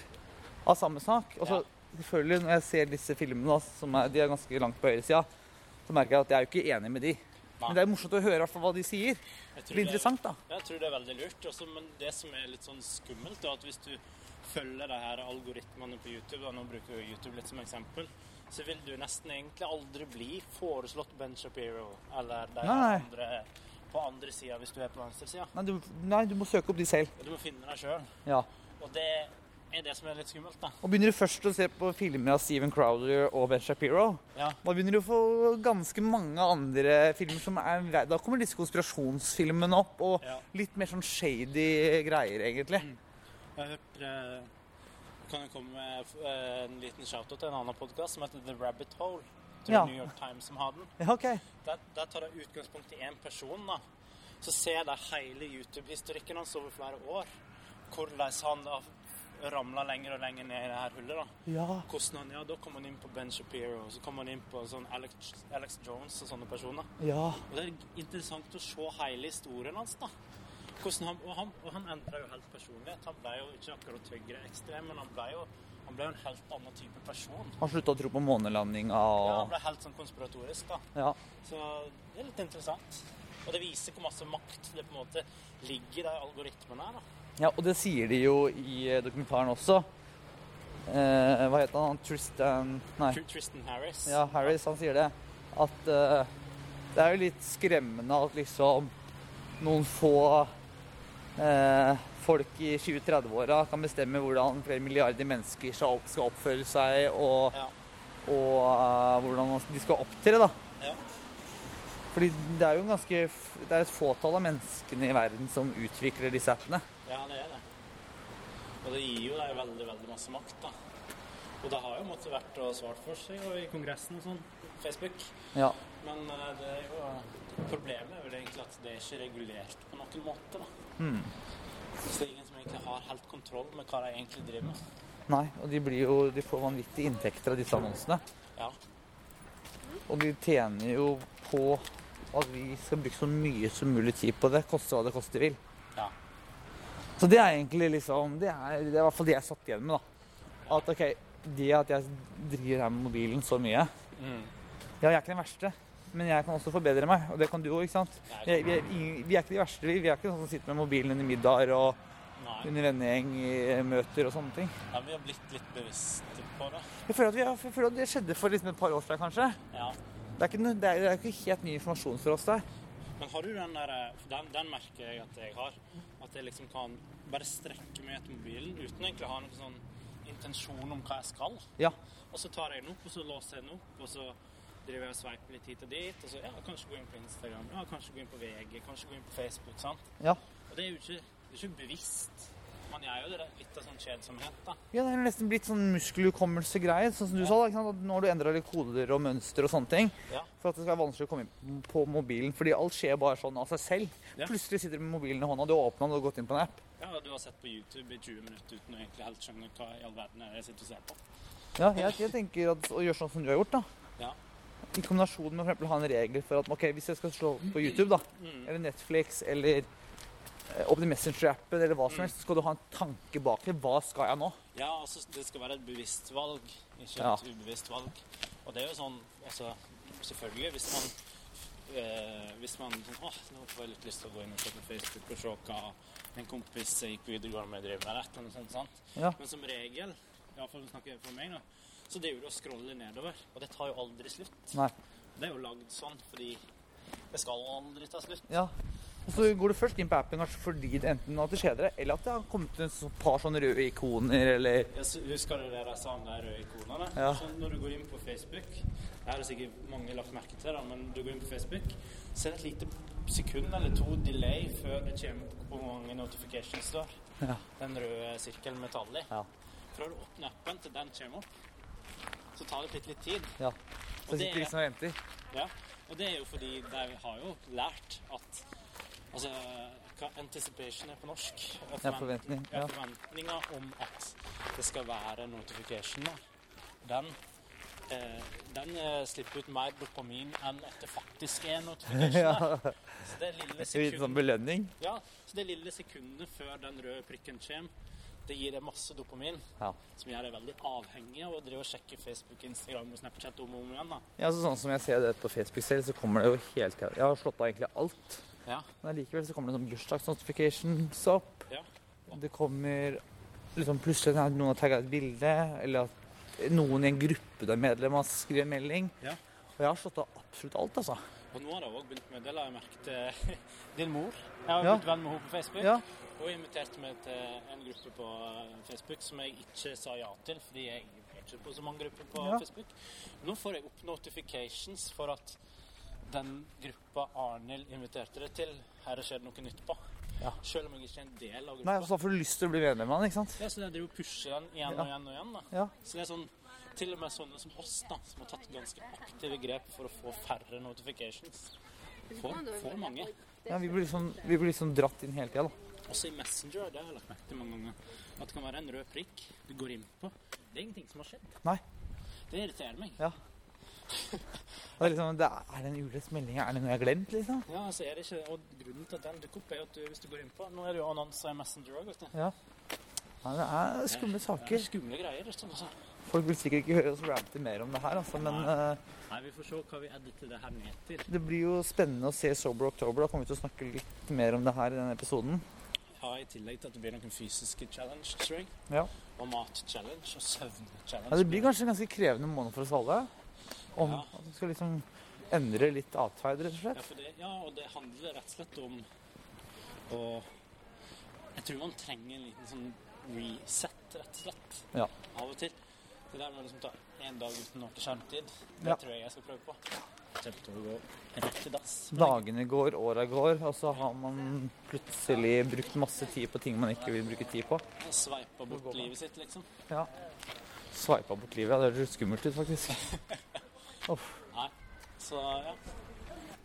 [SPEAKER 2] av samme sak. Og så
[SPEAKER 1] Ja.
[SPEAKER 2] selvfølgelig, når jeg ser disse filmene, da, som er, de er ganske langt på høyresida, så merker jeg at jeg er jo ikke enig med de.
[SPEAKER 1] Nei.
[SPEAKER 2] Men det er jo morsomt å høre i hvert fall hva de sier.
[SPEAKER 1] Jeg
[SPEAKER 2] Det
[SPEAKER 1] tror
[SPEAKER 2] blir interessant, da.
[SPEAKER 1] Jeg tror det er veldig lurt. Også, men det som er litt sånn skummelt, er at hvis du følger de her algoritmene på YouTube, da, nå bruker vi YouTube litt som eksempel, så vil du nesten egentlig aldri bli foreslått Ben Shapiro eller de her
[SPEAKER 2] Nei.
[SPEAKER 1] andre på andre sida hvis du er på venstresida.
[SPEAKER 2] Nei du, nei, du må søke opp de selv.
[SPEAKER 1] Du må finne deg sjøl.
[SPEAKER 2] Ja.
[SPEAKER 1] Og det er det som er litt skummelt, da.
[SPEAKER 2] Og begynner du først å se på filmer av Steven Crowder og Ben Shapiro,
[SPEAKER 1] Ja.
[SPEAKER 2] da begynner du å få ganske mange andre filmer som er Da kommer disse konspirasjonsfilmene opp, og
[SPEAKER 1] Ja.
[SPEAKER 2] litt mer sånn shady greier, egentlig.
[SPEAKER 1] Jeg hørte Kan jeg komme med eh, en liten shout-out til en annen podkast som heter The Rabbit Hole? Tror
[SPEAKER 2] Ja.
[SPEAKER 1] New York Times som har den.
[SPEAKER 2] Ja, OK.
[SPEAKER 1] Der, der tar de utgangspunkt i én person. da. Så ser de hele YouTube-historikken hans over flere år. Hvordan han har ramla lenger og lenger ned i det her hullet. da.
[SPEAKER 2] Ja.
[SPEAKER 1] Hvordan han, ja, Da kom han inn på Ben Shapiro, så kom han inn på sånn Alex, Alex Jones og sånne personer.
[SPEAKER 2] Ja.
[SPEAKER 1] Og Det er interessant å se hele historien hans. da. Hvordan han, og han, og han endra jo helt personlighet. Han ble jo ikke akkurat høyreekstrem, men han ble jo han ble jo en helt annen type person.
[SPEAKER 2] Han slutta å tro på månelandinga
[SPEAKER 1] Ja, han
[SPEAKER 2] og
[SPEAKER 1] ble helt sånn konspiratorisk. da.
[SPEAKER 2] Ja.
[SPEAKER 1] Så det er litt interessant. Og det viser hvor masse makt det på en måte ligger i de algoritmene her. da.
[SPEAKER 2] Ja, og det sier de jo i eh, dokumentaren også. Eh, hva heter han? Tristan Nei.
[SPEAKER 1] Tr- Tristan Harris.
[SPEAKER 2] Ja, Harris, han sier det. At eh, det er jo litt skremmende at liksom noen få eh, folk i 20-30-åra kan bestemme hvordan flere milliarder mennesker skal opp- skal oppføre seg, og,
[SPEAKER 1] Ja.
[SPEAKER 2] og eh, hvordan de skal opptre, da.
[SPEAKER 1] Ja.
[SPEAKER 2] Fordi det er jo en ganske f- Det er et fåtall av menneskene i verden som utvikler disse appene.
[SPEAKER 1] ja, det er det. Og det gir jo deg veldig, veldig masse makt, da. Og det har jo måttet vært og svart for seg og i Kongressen og sånn. Facebook.
[SPEAKER 2] Ja.
[SPEAKER 1] Men eh, det er jo eh, Problemet er vel egentlig at det er ikke regulert på noen måte, da.
[SPEAKER 2] Hmm.
[SPEAKER 1] Så det er ingen som egentlig har helt kontroll med hva de egentlig driver med.
[SPEAKER 2] Nei, og de, blir jo, de får vanvittige inntekter av disse annonsene.
[SPEAKER 1] Ja.
[SPEAKER 2] Og de tjener jo på at vi skal bruke så mye som mulig tid på det, koste hva det koste vil.
[SPEAKER 1] Ja.
[SPEAKER 2] Så det er egentlig liksom Det er, det er i hvert fall det jeg satt igjen med, da. At OK, det at jeg driver her med mobilen så mye Hmm. Ja, jeg er ikke den verste, men jeg kan også forbedre meg. Og det kan du òg, ikke sant? Jeg, vi, er, ingen- vi er ikke de verste. Vi vi er ikke sånn som sitter med mobilen under middager og
[SPEAKER 1] Nei.
[SPEAKER 2] under vennegjeng i møter og sånne ting.
[SPEAKER 1] Ja, vi har blitt litt bevisste på det.
[SPEAKER 2] Jeg føler at, vi, jeg føler at det skjedde for liksom et par år siden, kanskje.
[SPEAKER 1] Ja.
[SPEAKER 2] Det er, ikke, noe- det er, det er ikke helt ny informasjon for oss der.
[SPEAKER 1] Men har du den der eh, Den, den merker jeg at jeg har. At jeg liksom kan bare strekke meg etter mobilen uten egentlig å ha noen sånn intensjon om hva jeg skal.
[SPEAKER 2] Ja.
[SPEAKER 1] Og så tar jeg den opp, og så låser jeg den opp, og så driver jeg og sveiper litt hit og dit. Og så ja, kanskje gå inn på Instagram, ja, kanskje gå inn på VG, kanskje gå inn på Facebook. sant?
[SPEAKER 2] Ja.
[SPEAKER 1] Og det er jo ikke, det er ikke bevisst. Man gjør jo det der litt av sånn kjedsomhet, da.
[SPEAKER 2] ja, det er nesten blitt sånn muskelhukommelsegreie, sånn som du sa. da, ikke sant? At nå har du endra litt koder og mønster og sånne ting.
[SPEAKER 1] Ja.
[SPEAKER 2] For at det skal være vanskelig å komme inn på mobilen. Fordi alt skjer bare sånn av seg selv.
[SPEAKER 1] Ja.
[SPEAKER 2] Plutselig sitter du med mobilen i hånda, du har åpna den og gått inn på en app.
[SPEAKER 1] Ja, og Du har sett på YouTube i 20 minutter uten å egentlig helt skjønne hva i all verden er det jeg sitter og ser på.
[SPEAKER 2] Ja, jeg, jeg tenker at å gjøre sånn som du har gjort, da.
[SPEAKER 1] Ja.
[SPEAKER 2] I kombinasjon med for eksempel å ha en regel for at ok, hvis jeg skal slå opp på YouTube, da,
[SPEAKER 1] Mm.
[SPEAKER 2] eller Netflix, eller eh, Open Messenger-appen, eller hva som helst, så skal du ha en tanke bak det. Hva skal jeg nå?
[SPEAKER 1] Ja, altså det skal være et bevisst valg, ikke
[SPEAKER 2] Ja.
[SPEAKER 1] et ubevisst valg. Og det er jo sånn, altså selvfølgelig hvis man eh, hvis man sånn, åh, nå får jeg litt lyst til å gå inn og se på Facebook og se hva en kompis jeg gikk på videregående med driver med, eller et eller annet sånt, sant?
[SPEAKER 2] Ja.
[SPEAKER 1] Men som regel, iallfall snakker jeg for meg nå, så driver du og scroller nedover, og det tar jo aldri slutt.
[SPEAKER 2] Nei.
[SPEAKER 1] Det er jo lagd sånn fordi det skal aldri ta slutt.
[SPEAKER 2] Ja. Og så går du først inn på appen kanskje fordi det enten at det skjeder deg, eller at det har kommet et sånn par sånne røde ikoner, eller
[SPEAKER 1] Jeg s- Husker du det jeg sa om de røde ikonene?
[SPEAKER 2] Ja.
[SPEAKER 1] Så når du går inn på Facebook Det har sikkert mange lagt merke til, da, men du går inn på Facebook, så er det et lite sekund eller to delay før det kommer på hvor mange notifications du har.
[SPEAKER 2] Ja.
[SPEAKER 1] Den røde sirkelen med tall i.
[SPEAKER 2] Ja.
[SPEAKER 1] Fra du åpner appen til den kommer opp, så tar det litt, litt tid.
[SPEAKER 2] ja.
[SPEAKER 1] Og
[SPEAKER 2] Så
[SPEAKER 1] det
[SPEAKER 2] sitter
[SPEAKER 1] er-
[SPEAKER 2] de liksom og venter.
[SPEAKER 1] Ja, og det er jo fordi de har jo lært at Altså, hva anticipation er på norsk. Og
[SPEAKER 2] Ja, forventning,
[SPEAKER 1] ja.
[SPEAKER 2] ja.
[SPEAKER 1] Forventninger om at det skal være notification. da. Den, eh, den eh, slipper ut mer dopamin enn at det faktisk er notification.
[SPEAKER 2] (laughs) ja.
[SPEAKER 1] da. Så det lille
[SPEAKER 2] Litt sånn
[SPEAKER 1] sekundet,
[SPEAKER 2] belønning.
[SPEAKER 1] ja, så det lille sekundet før den røde prikken kommer, det gir deg masse dopamin,
[SPEAKER 2] Ja.
[SPEAKER 1] som gjør deg veldig avhengig av å drive og sjekke Facebook, Instagram og Snapchat om og om igjen. da.
[SPEAKER 2] ja, så sånn som jeg ser det på Facebook selv, så kommer det jo helt Jeg har slått av egentlig alt.
[SPEAKER 1] Ja.
[SPEAKER 2] Men allikevel så kommer det sånn bursdagsnotifications opp.
[SPEAKER 1] Ja.
[SPEAKER 2] Det kommer liksom plutselig at noen har tagget et bilde, eller at noen i en gruppe du er medlem av, skriver en melding.
[SPEAKER 1] Ja.
[SPEAKER 2] Og jeg har slått av absolutt alt, altså.
[SPEAKER 1] Og nå har jeg også begynt med det, la jeg merke til (laughs) din mor. Jeg har
[SPEAKER 2] Ja.
[SPEAKER 1] blitt venn med henne på Facebook.
[SPEAKER 2] Ja.
[SPEAKER 1] Hun inviterte meg til en gruppe på eh, Facebook som jeg ikke sa ja til, fordi jeg er ikke på så mange grupper på
[SPEAKER 2] Ja.
[SPEAKER 1] Facebook. Nå får jeg opp notifications for at den gruppa Arnhild inviterte deg til, her skjer det noe nytt på.
[SPEAKER 2] Ja.
[SPEAKER 1] Selv om jeg ikke er en del av gruppa.
[SPEAKER 2] Nei, altså- så da får du lyst til å bli medlem av den, ikke sant?
[SPEAKER 1] Ja, så jeg driver og pusher den igjen
[SPEAKER 2] Ja.
[SPEAKER 1] og igjen og igjen. da.
[SPEAKER 2] Ja.
[SPEAKER 1] Så det er sånn, Til og med sånne som oss, da, som har tatt ganske aktive grep for å få færre notifications. Får, får mange.
[SPEAKER 2] Ja, vi blir liksom, vi blir liksom dratt inn hele tida, da.
[SPEAKER 1] Også i Messenger det har jeg lagt merke til mange ganger. At det kan være en rød prikk du går inn på. Det er ingenting som har skjedd.
[SPEAKER 2] Nei.
[SPEAKER 1] Det irriterer meg.
[SPEAKER 2] Det er liksom, det er, er det en ulest melding? Er det noe jeg har glemt, liksom?
[SPEAKER 1] Ja, altså er det ikke, og Grunnen til at den dukker opp, er jo at du, hvis du går inn på Nå er det jo annonser i Messenger òg, vet du.
[SPEAKER 2] Ja. Nei, det er skumle
[SPEAKER 1] Det er
[SPEAKER 2] saker.
[SPEAKER 1] skumle greier. vet du, Altså.
[SPEAKER 2] Folk vil sikkert ikke høre oss rante mer om det her, altså, men eh,
[SPEAKER 1] Nei, vi får se hva vi editer det her ned til.
[SPEAKER 2] det blir jo spennende å se Sober October. Da kommer vi til å snakke litt mer om det her i denne episoden.
[SPEAKER 1] Ja, I tillegg til at det blir noen fysiske challenge, tror jeg.
[SPEAKER 2] Ja.
[SPEAKER 1] Og mat-challenge og søvn-challenge.
[SPEAKER 2] Ja, det blir kanskje en ganske krevende måned for oss alle. Om
[SPEAKER 1] Ja.
[SPEAKER 2] at vi skal liksom endre litt atferd, rett og
[SPEAKER 1] Ja,
[SPEAKER 2] slett.
[SPEAKER 1] for det, ja, og det handler rett og slett om å Jeg tror man trenger en liten sånn reset, rett og slett.
[SPEAKER 2] Ja.
[SPEAKER 1] Av og til. Det der med å liksom ta én dag uten ordentlig skjermtid, det
[SPEAKER 2] Ja.
[SPEAKER 1] tror jeg jeg skal prøve på. Kommer til å gå rett til dass.
[SPEAKER 2] Dagene går, åra går, og så har man plutselig brukt masse tid på ting man ikke vil bruke tid på.
[SPEAKER 1] Jeg Sveipa bort livet sitt, liksom.
[SPEAKER 2] Ja. Sveipa bort livet. Ja, det høres skummelt ut, faktisk.
[SPEAKER 1] Nei. Så ja.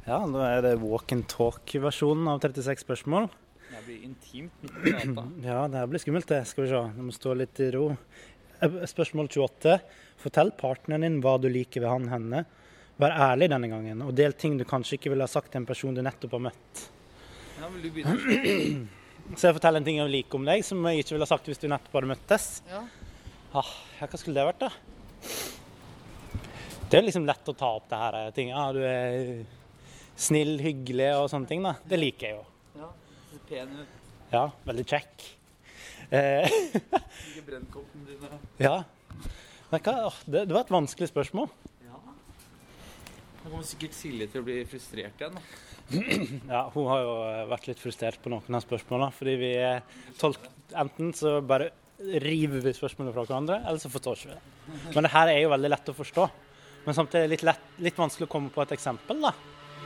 [SPEAKER 3] Ja, nå er det walk and talk-versjonen av 36 spørsmål.
[SPEAKER 2] Det blir intimt midt i gata.
[SPEAKER 3] Ja, det her blir skummelt, det. Skal vi se. Du må stå litt i ro. Eh, Spørsmål 28. Fortell partneren din hva du liker ved han henne. Vær ærlig denne gangen, og del ting du kanskje ikke ville ha sagt til en person du nettopp har møtt.
[SPEAKER 2] Ja, vil du begynne?
[SPEAKER 3] Så jeg forteller en ting jeg liker om deg, som jeg ikke ville ha sagt hvis du nettopp hadde møttes.
[SPEAKER 2] Ja.
[SPEAKER 3] Ah, ja, hva skulle det vært, da? Det er liksom lett å ta opp det her. eh, Ting. Ja, du er snill, hyggelig og sånne ting. da. Det liker jeg jo.
[SPEAKER 2] ja. Ser pen ut.
[SPEAKER 3] Ja, veldig kjekk. Eh,
[SPEAKER 2] Ikke brennkoppene dine.
[SPEAKER 3] ja. Nei, hva, åh, det, det var et vanskelig spørsmål.
[SPEAKER 2] Ja. Nå kommer sikkert Silje til å bli frustrert igjen. da.
[SPEAKER 3] Ja, Hun har jo eh, vært litt frustrert på noen av spørsmålene. Fordi vi eh, tolk, enten så bare river vi spørsmålene fra hverandre, eller så forstår ikke vi det. Men det her er jo veldig lett å forstå. Men samtidig litt, lett, litt vanskelig å komme på et eksempel, da.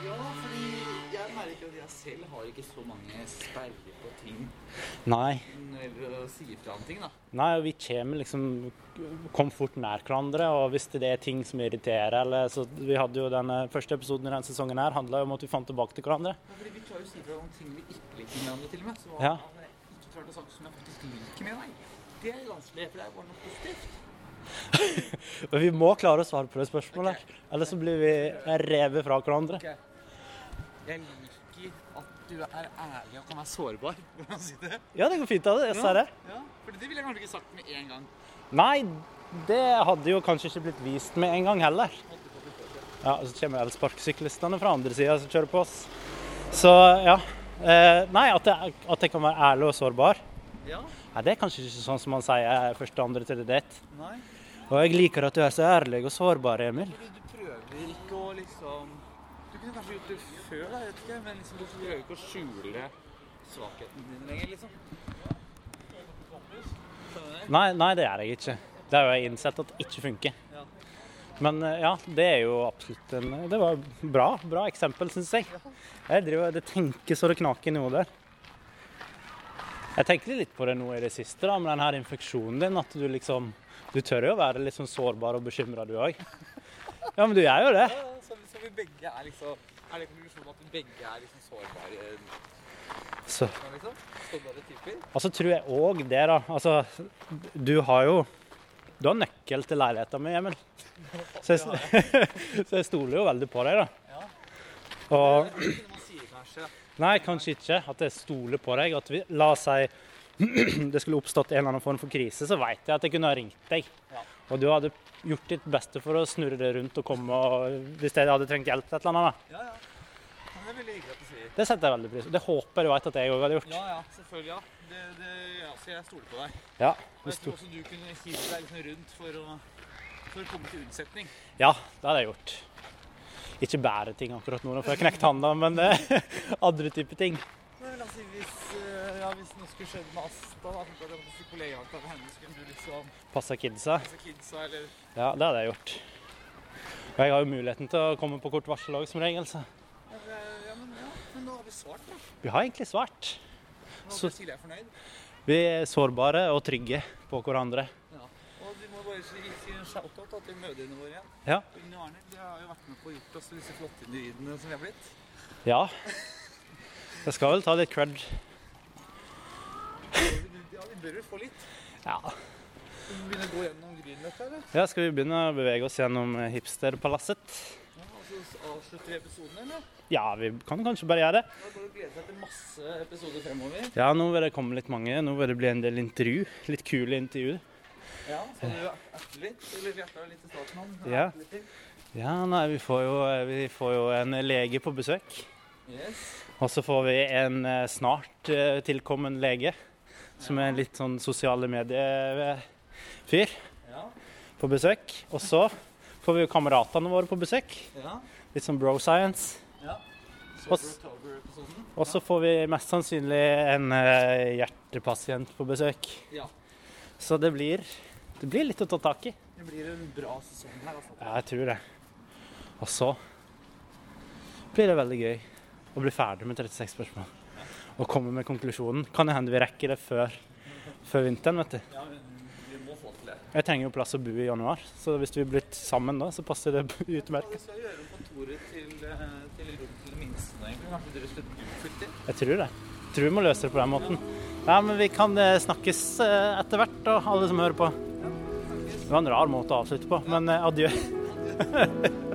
[SPEAKER 2] Ja, fordi jeg merker at jeg selv har ikke så mange sperrer på ting
[SPEAKER 3] Nei.
[SPEAKER 2] når det gjelder å si øh, fra om ting, da.
[SPEAKER 3] Nei, og vi kommer liksom kom fort nær hverandre, og hvis det er ting som irriterer eller, så Vi hadde jo den første episoden i denne sesongen her handla jo om at vi fant tilbake til hverandre.
[SPEAKER 2] Ja, Fordi vi klarer å si fra om ting vi ikke liker med hverandre, til og med. Så
[SPEAKER 3] Ja.
[SPEAKER 2] at jeg ikke klarte å snakke som jeg faktisk liker med deg. Det er vanskelig, for det er bare noe positivt.
[SPEAKER 3] Men vi må klare å svare på det spørsmålet, her, ellers så blir vi revet fra hverandre.
[SPEAKER 2] Jeg liker at du er ærlig og kan være sårbar. (laughs) Hvordan si det?
[SPEAKER 3] Ja, det går fint av det. Jeg sa det.
[SPEAKER 2] Ja, for det ville jeg kanskje ikke sagt med en gang.
[SPEAKER 3] Nei, det hadde jo kanskje ikke blitt vist med en gang heller. Ja, og så kommer elsparkesyklistene fra andre sida som kjører på oss. Så ja. Eh, nei, at jeg, at jeg kan være ærlig og sårbar.
[SPEAKER 2] Ja,
[SPEAKER 3] Nei, det er kanskje ikke sånn som man sier første, andre, tredje date.
[SPEAKER 2] nei.
[SPEAKER 3] Og jeg liker at du er så ærlig og sårbar, Emil.
[SPEAKER 2] Fordi du prøver ikke å liksom Du kunne kanskje gjort det før, da, jeg vet ikke, men liksom, du prøver ikke å skjule svakheten din lenger, liksom. Skjønner du?
[SPEAKER 3] Nei, nei, det gjør jeg ikke. Det har jeg innsett at ikke funker.
[SPEAKER 2] Ja.
[SPEAKER 3] Men eh, ja, det er jo absolutt en Det var bra. Bra eksempel, syns jeg. Jeg driver, Det tenker så det knaker i hodet. Jeg tenkte litt på det nå i det siste, da, med den her infeksjonen din. At du liksom Du tør jo å være litt sånn sårbar og bekymra, du òg. Ja, men du gjør jo det.
[SPEAKER 2] Ja, ja, Så, så vi begge er liksom Er det konklusjonen at vi begge er liksom sårbare
[SPEAKER 1] Så
[SPEAKER 2] Ja, liksom. Sånne typer.
[SPEAKER 1] Og så Altså, tror jeg òg det, da. Altså, du har jo Du har nøkkel til leiligheten min, Emil. Så jeg, (laughs) så jeg stoler jo veldig på deg, da.
[SPEAKER 2] Ja.
[SPEAKER 1] Og
[SPEAKER 2] Det er ikke noe man sier, kanskje.
[SPEAKER 1] Nei, kanskje ikke. At jeg stoler på deg. At vi, la oss si (clears throat) det skulle oppstått en eller annen form for krise, så vet jeg at jeg kunne ha ringt deg.
[SPEAKER 2] Ja.
[SPEAKER 1] Og du hadde gjort ditt beste for å snurre det rundt og komme og, hvis jeg hadde trengt hjelp til et eller annet. da.
[SPEAKER 2] Ja, ja. Men det er veldig hyggelig at du sier.
[SPEAKER 1] Det setter jeg veldig pris på. Det håper jeg du vet at jeg òg hadde gjort.
[SPEAKER 2] Ja, ja, selvfølgelig. ja. Det, det, ja, så jeg stoler på deg.
[SPEAKER 1] Ja.
[SPEAKER 2] Og jeg tror også du kunne hive deg liksom rundt for å, for å komme til unnsetning.
[SPEAKER 1] Ja, det hadde jeg gjort. Ikke bære ting akkurat nå, for jeg knekt handa, men eh, (laughs) andre typer ting.
[SPEAKER 2] Men la oss si hvis, eh, ja, hvis noe skulle skjedd med Asta, da, at det var kollegajakta med henne, så kunne du liksom
[SPEAKER 1] Passa kidsa.
[SPEAKER 2] altså kidsa eller
[SPEAKER 1] Ja, det hadde jeg gjort. Og jeg har jo muligheten til å komme på kort varsel òg, som regel, så
[SPEAKER 2] ja, det- ja, men ja, men nå har vi svart, da.
[SPEAKER 1] vi har egentlig svart.
[SPEAKER 2] Nå
[SPEAKER 1] Så-
[SPEAKER 2] håper jeg Silje er fornøyd.
[SPEAKER 1] Vi er sårbare og trygge på hverandre.
[SPEAKER 2] Ja. Og vi må bare si si en shout-out da, til mødrene våre igjen.
[SPEAKER 1] Ja.
[SPEAKER 2] Unni og Arne, de har jo vært med på å gjort oss til disse flotte individene som vi har blitt.
[SPEAKER 1] Ja. Jeg skal vel ta litt cred.
[SPEAKER 2] Ja, vi bør vel få litt.
[SPEAKER 1] Ja.
[SPEAKER 2] Vi må begynne å gå gjennom Grünerløkka, eller?
[SPEAKER 1] ja. Skal vi begynne å bevege oss gjennom eh, hipsterpalasset?
[SPEAKER 2] Ja, og så avslutter vi episoden, eller?
[SPEAKER 1] Ja, vi kan kanskje bare gjøre det.
[SPEAKER 2] Da er det bare å glede seg til masse episoder fremover.
[SPEAKER 1] Ja, nå vil det komme litt mange. Nå vil det bli en del intervju. Litt kule intervju.
[SPEAKER 2] Ja, så du erte litt, eller erte deg litt i starten om.
[SPEAKER 1] Ja.
[SPEAKER 2] Erter litt til.
[SPEAKER 1] Ja, nei, vi får, jo, eh, vi får jo en lege på besøk.
[SPEAKER 2] Yes.
[SPEAKER 1] Og så får vi en eh, snart eh, tilkommen lege, som er en litt sånn sosiale medier-fyr,
[SPEAKER 2] Ja.
[SPEAKER 1] på besøk. Og så får vi jo kameratene våre på besøk.
[SPEAKER 2] Ja.
[SPEAKER 1] Litt sånn bro science.
[SPEAKER 2] Ja.
[SPEAKER 1] Og
[SPEAKER 2] Så
[SPEAKER 1] s-
[SPEAKER 2] October-episoden.
[SPEAKER 1] Og så får vi mest sannsynlig en eh, hjertepasient på besøk.
[SPEAKER 2] Ja.
[SPEAKER 1] Så det blir, det blir litt å ta tak i.
[SPEAKER 2] Det blir en bra sesong her, altså.
[SPEAKER 1] Ja, jeg tror det. Og så blir det veldig gøy å bli ferdig med 36 spørsmål. Og komme med konklusjonen. Kan det hende vi rekker det før, før vinteren, vet du.
[SPEAKER 2] Ja, men vi må få til det.
[SPEAKER 1] Jeg trenger jo plass å bo i januar, så hvis vi blir sammen da, så passer det (laughs)
[SPEAKER 2] Hva
[SPEAKER 1] utmerket.
[SPEAKER 2] skal vi gjøre om kontoret til, eh, til rom til det minste nå, egentlig? Kanskje dere slutter å flytte?
[SPEAKER 1] Jeg tror det. Jeg tror vi må løse det på den måten. Ja, men vi kan eh, snakkes eh, etter hvert, da, alle som hører på. Det var en rar måte å avslutte på, men eh, adjø.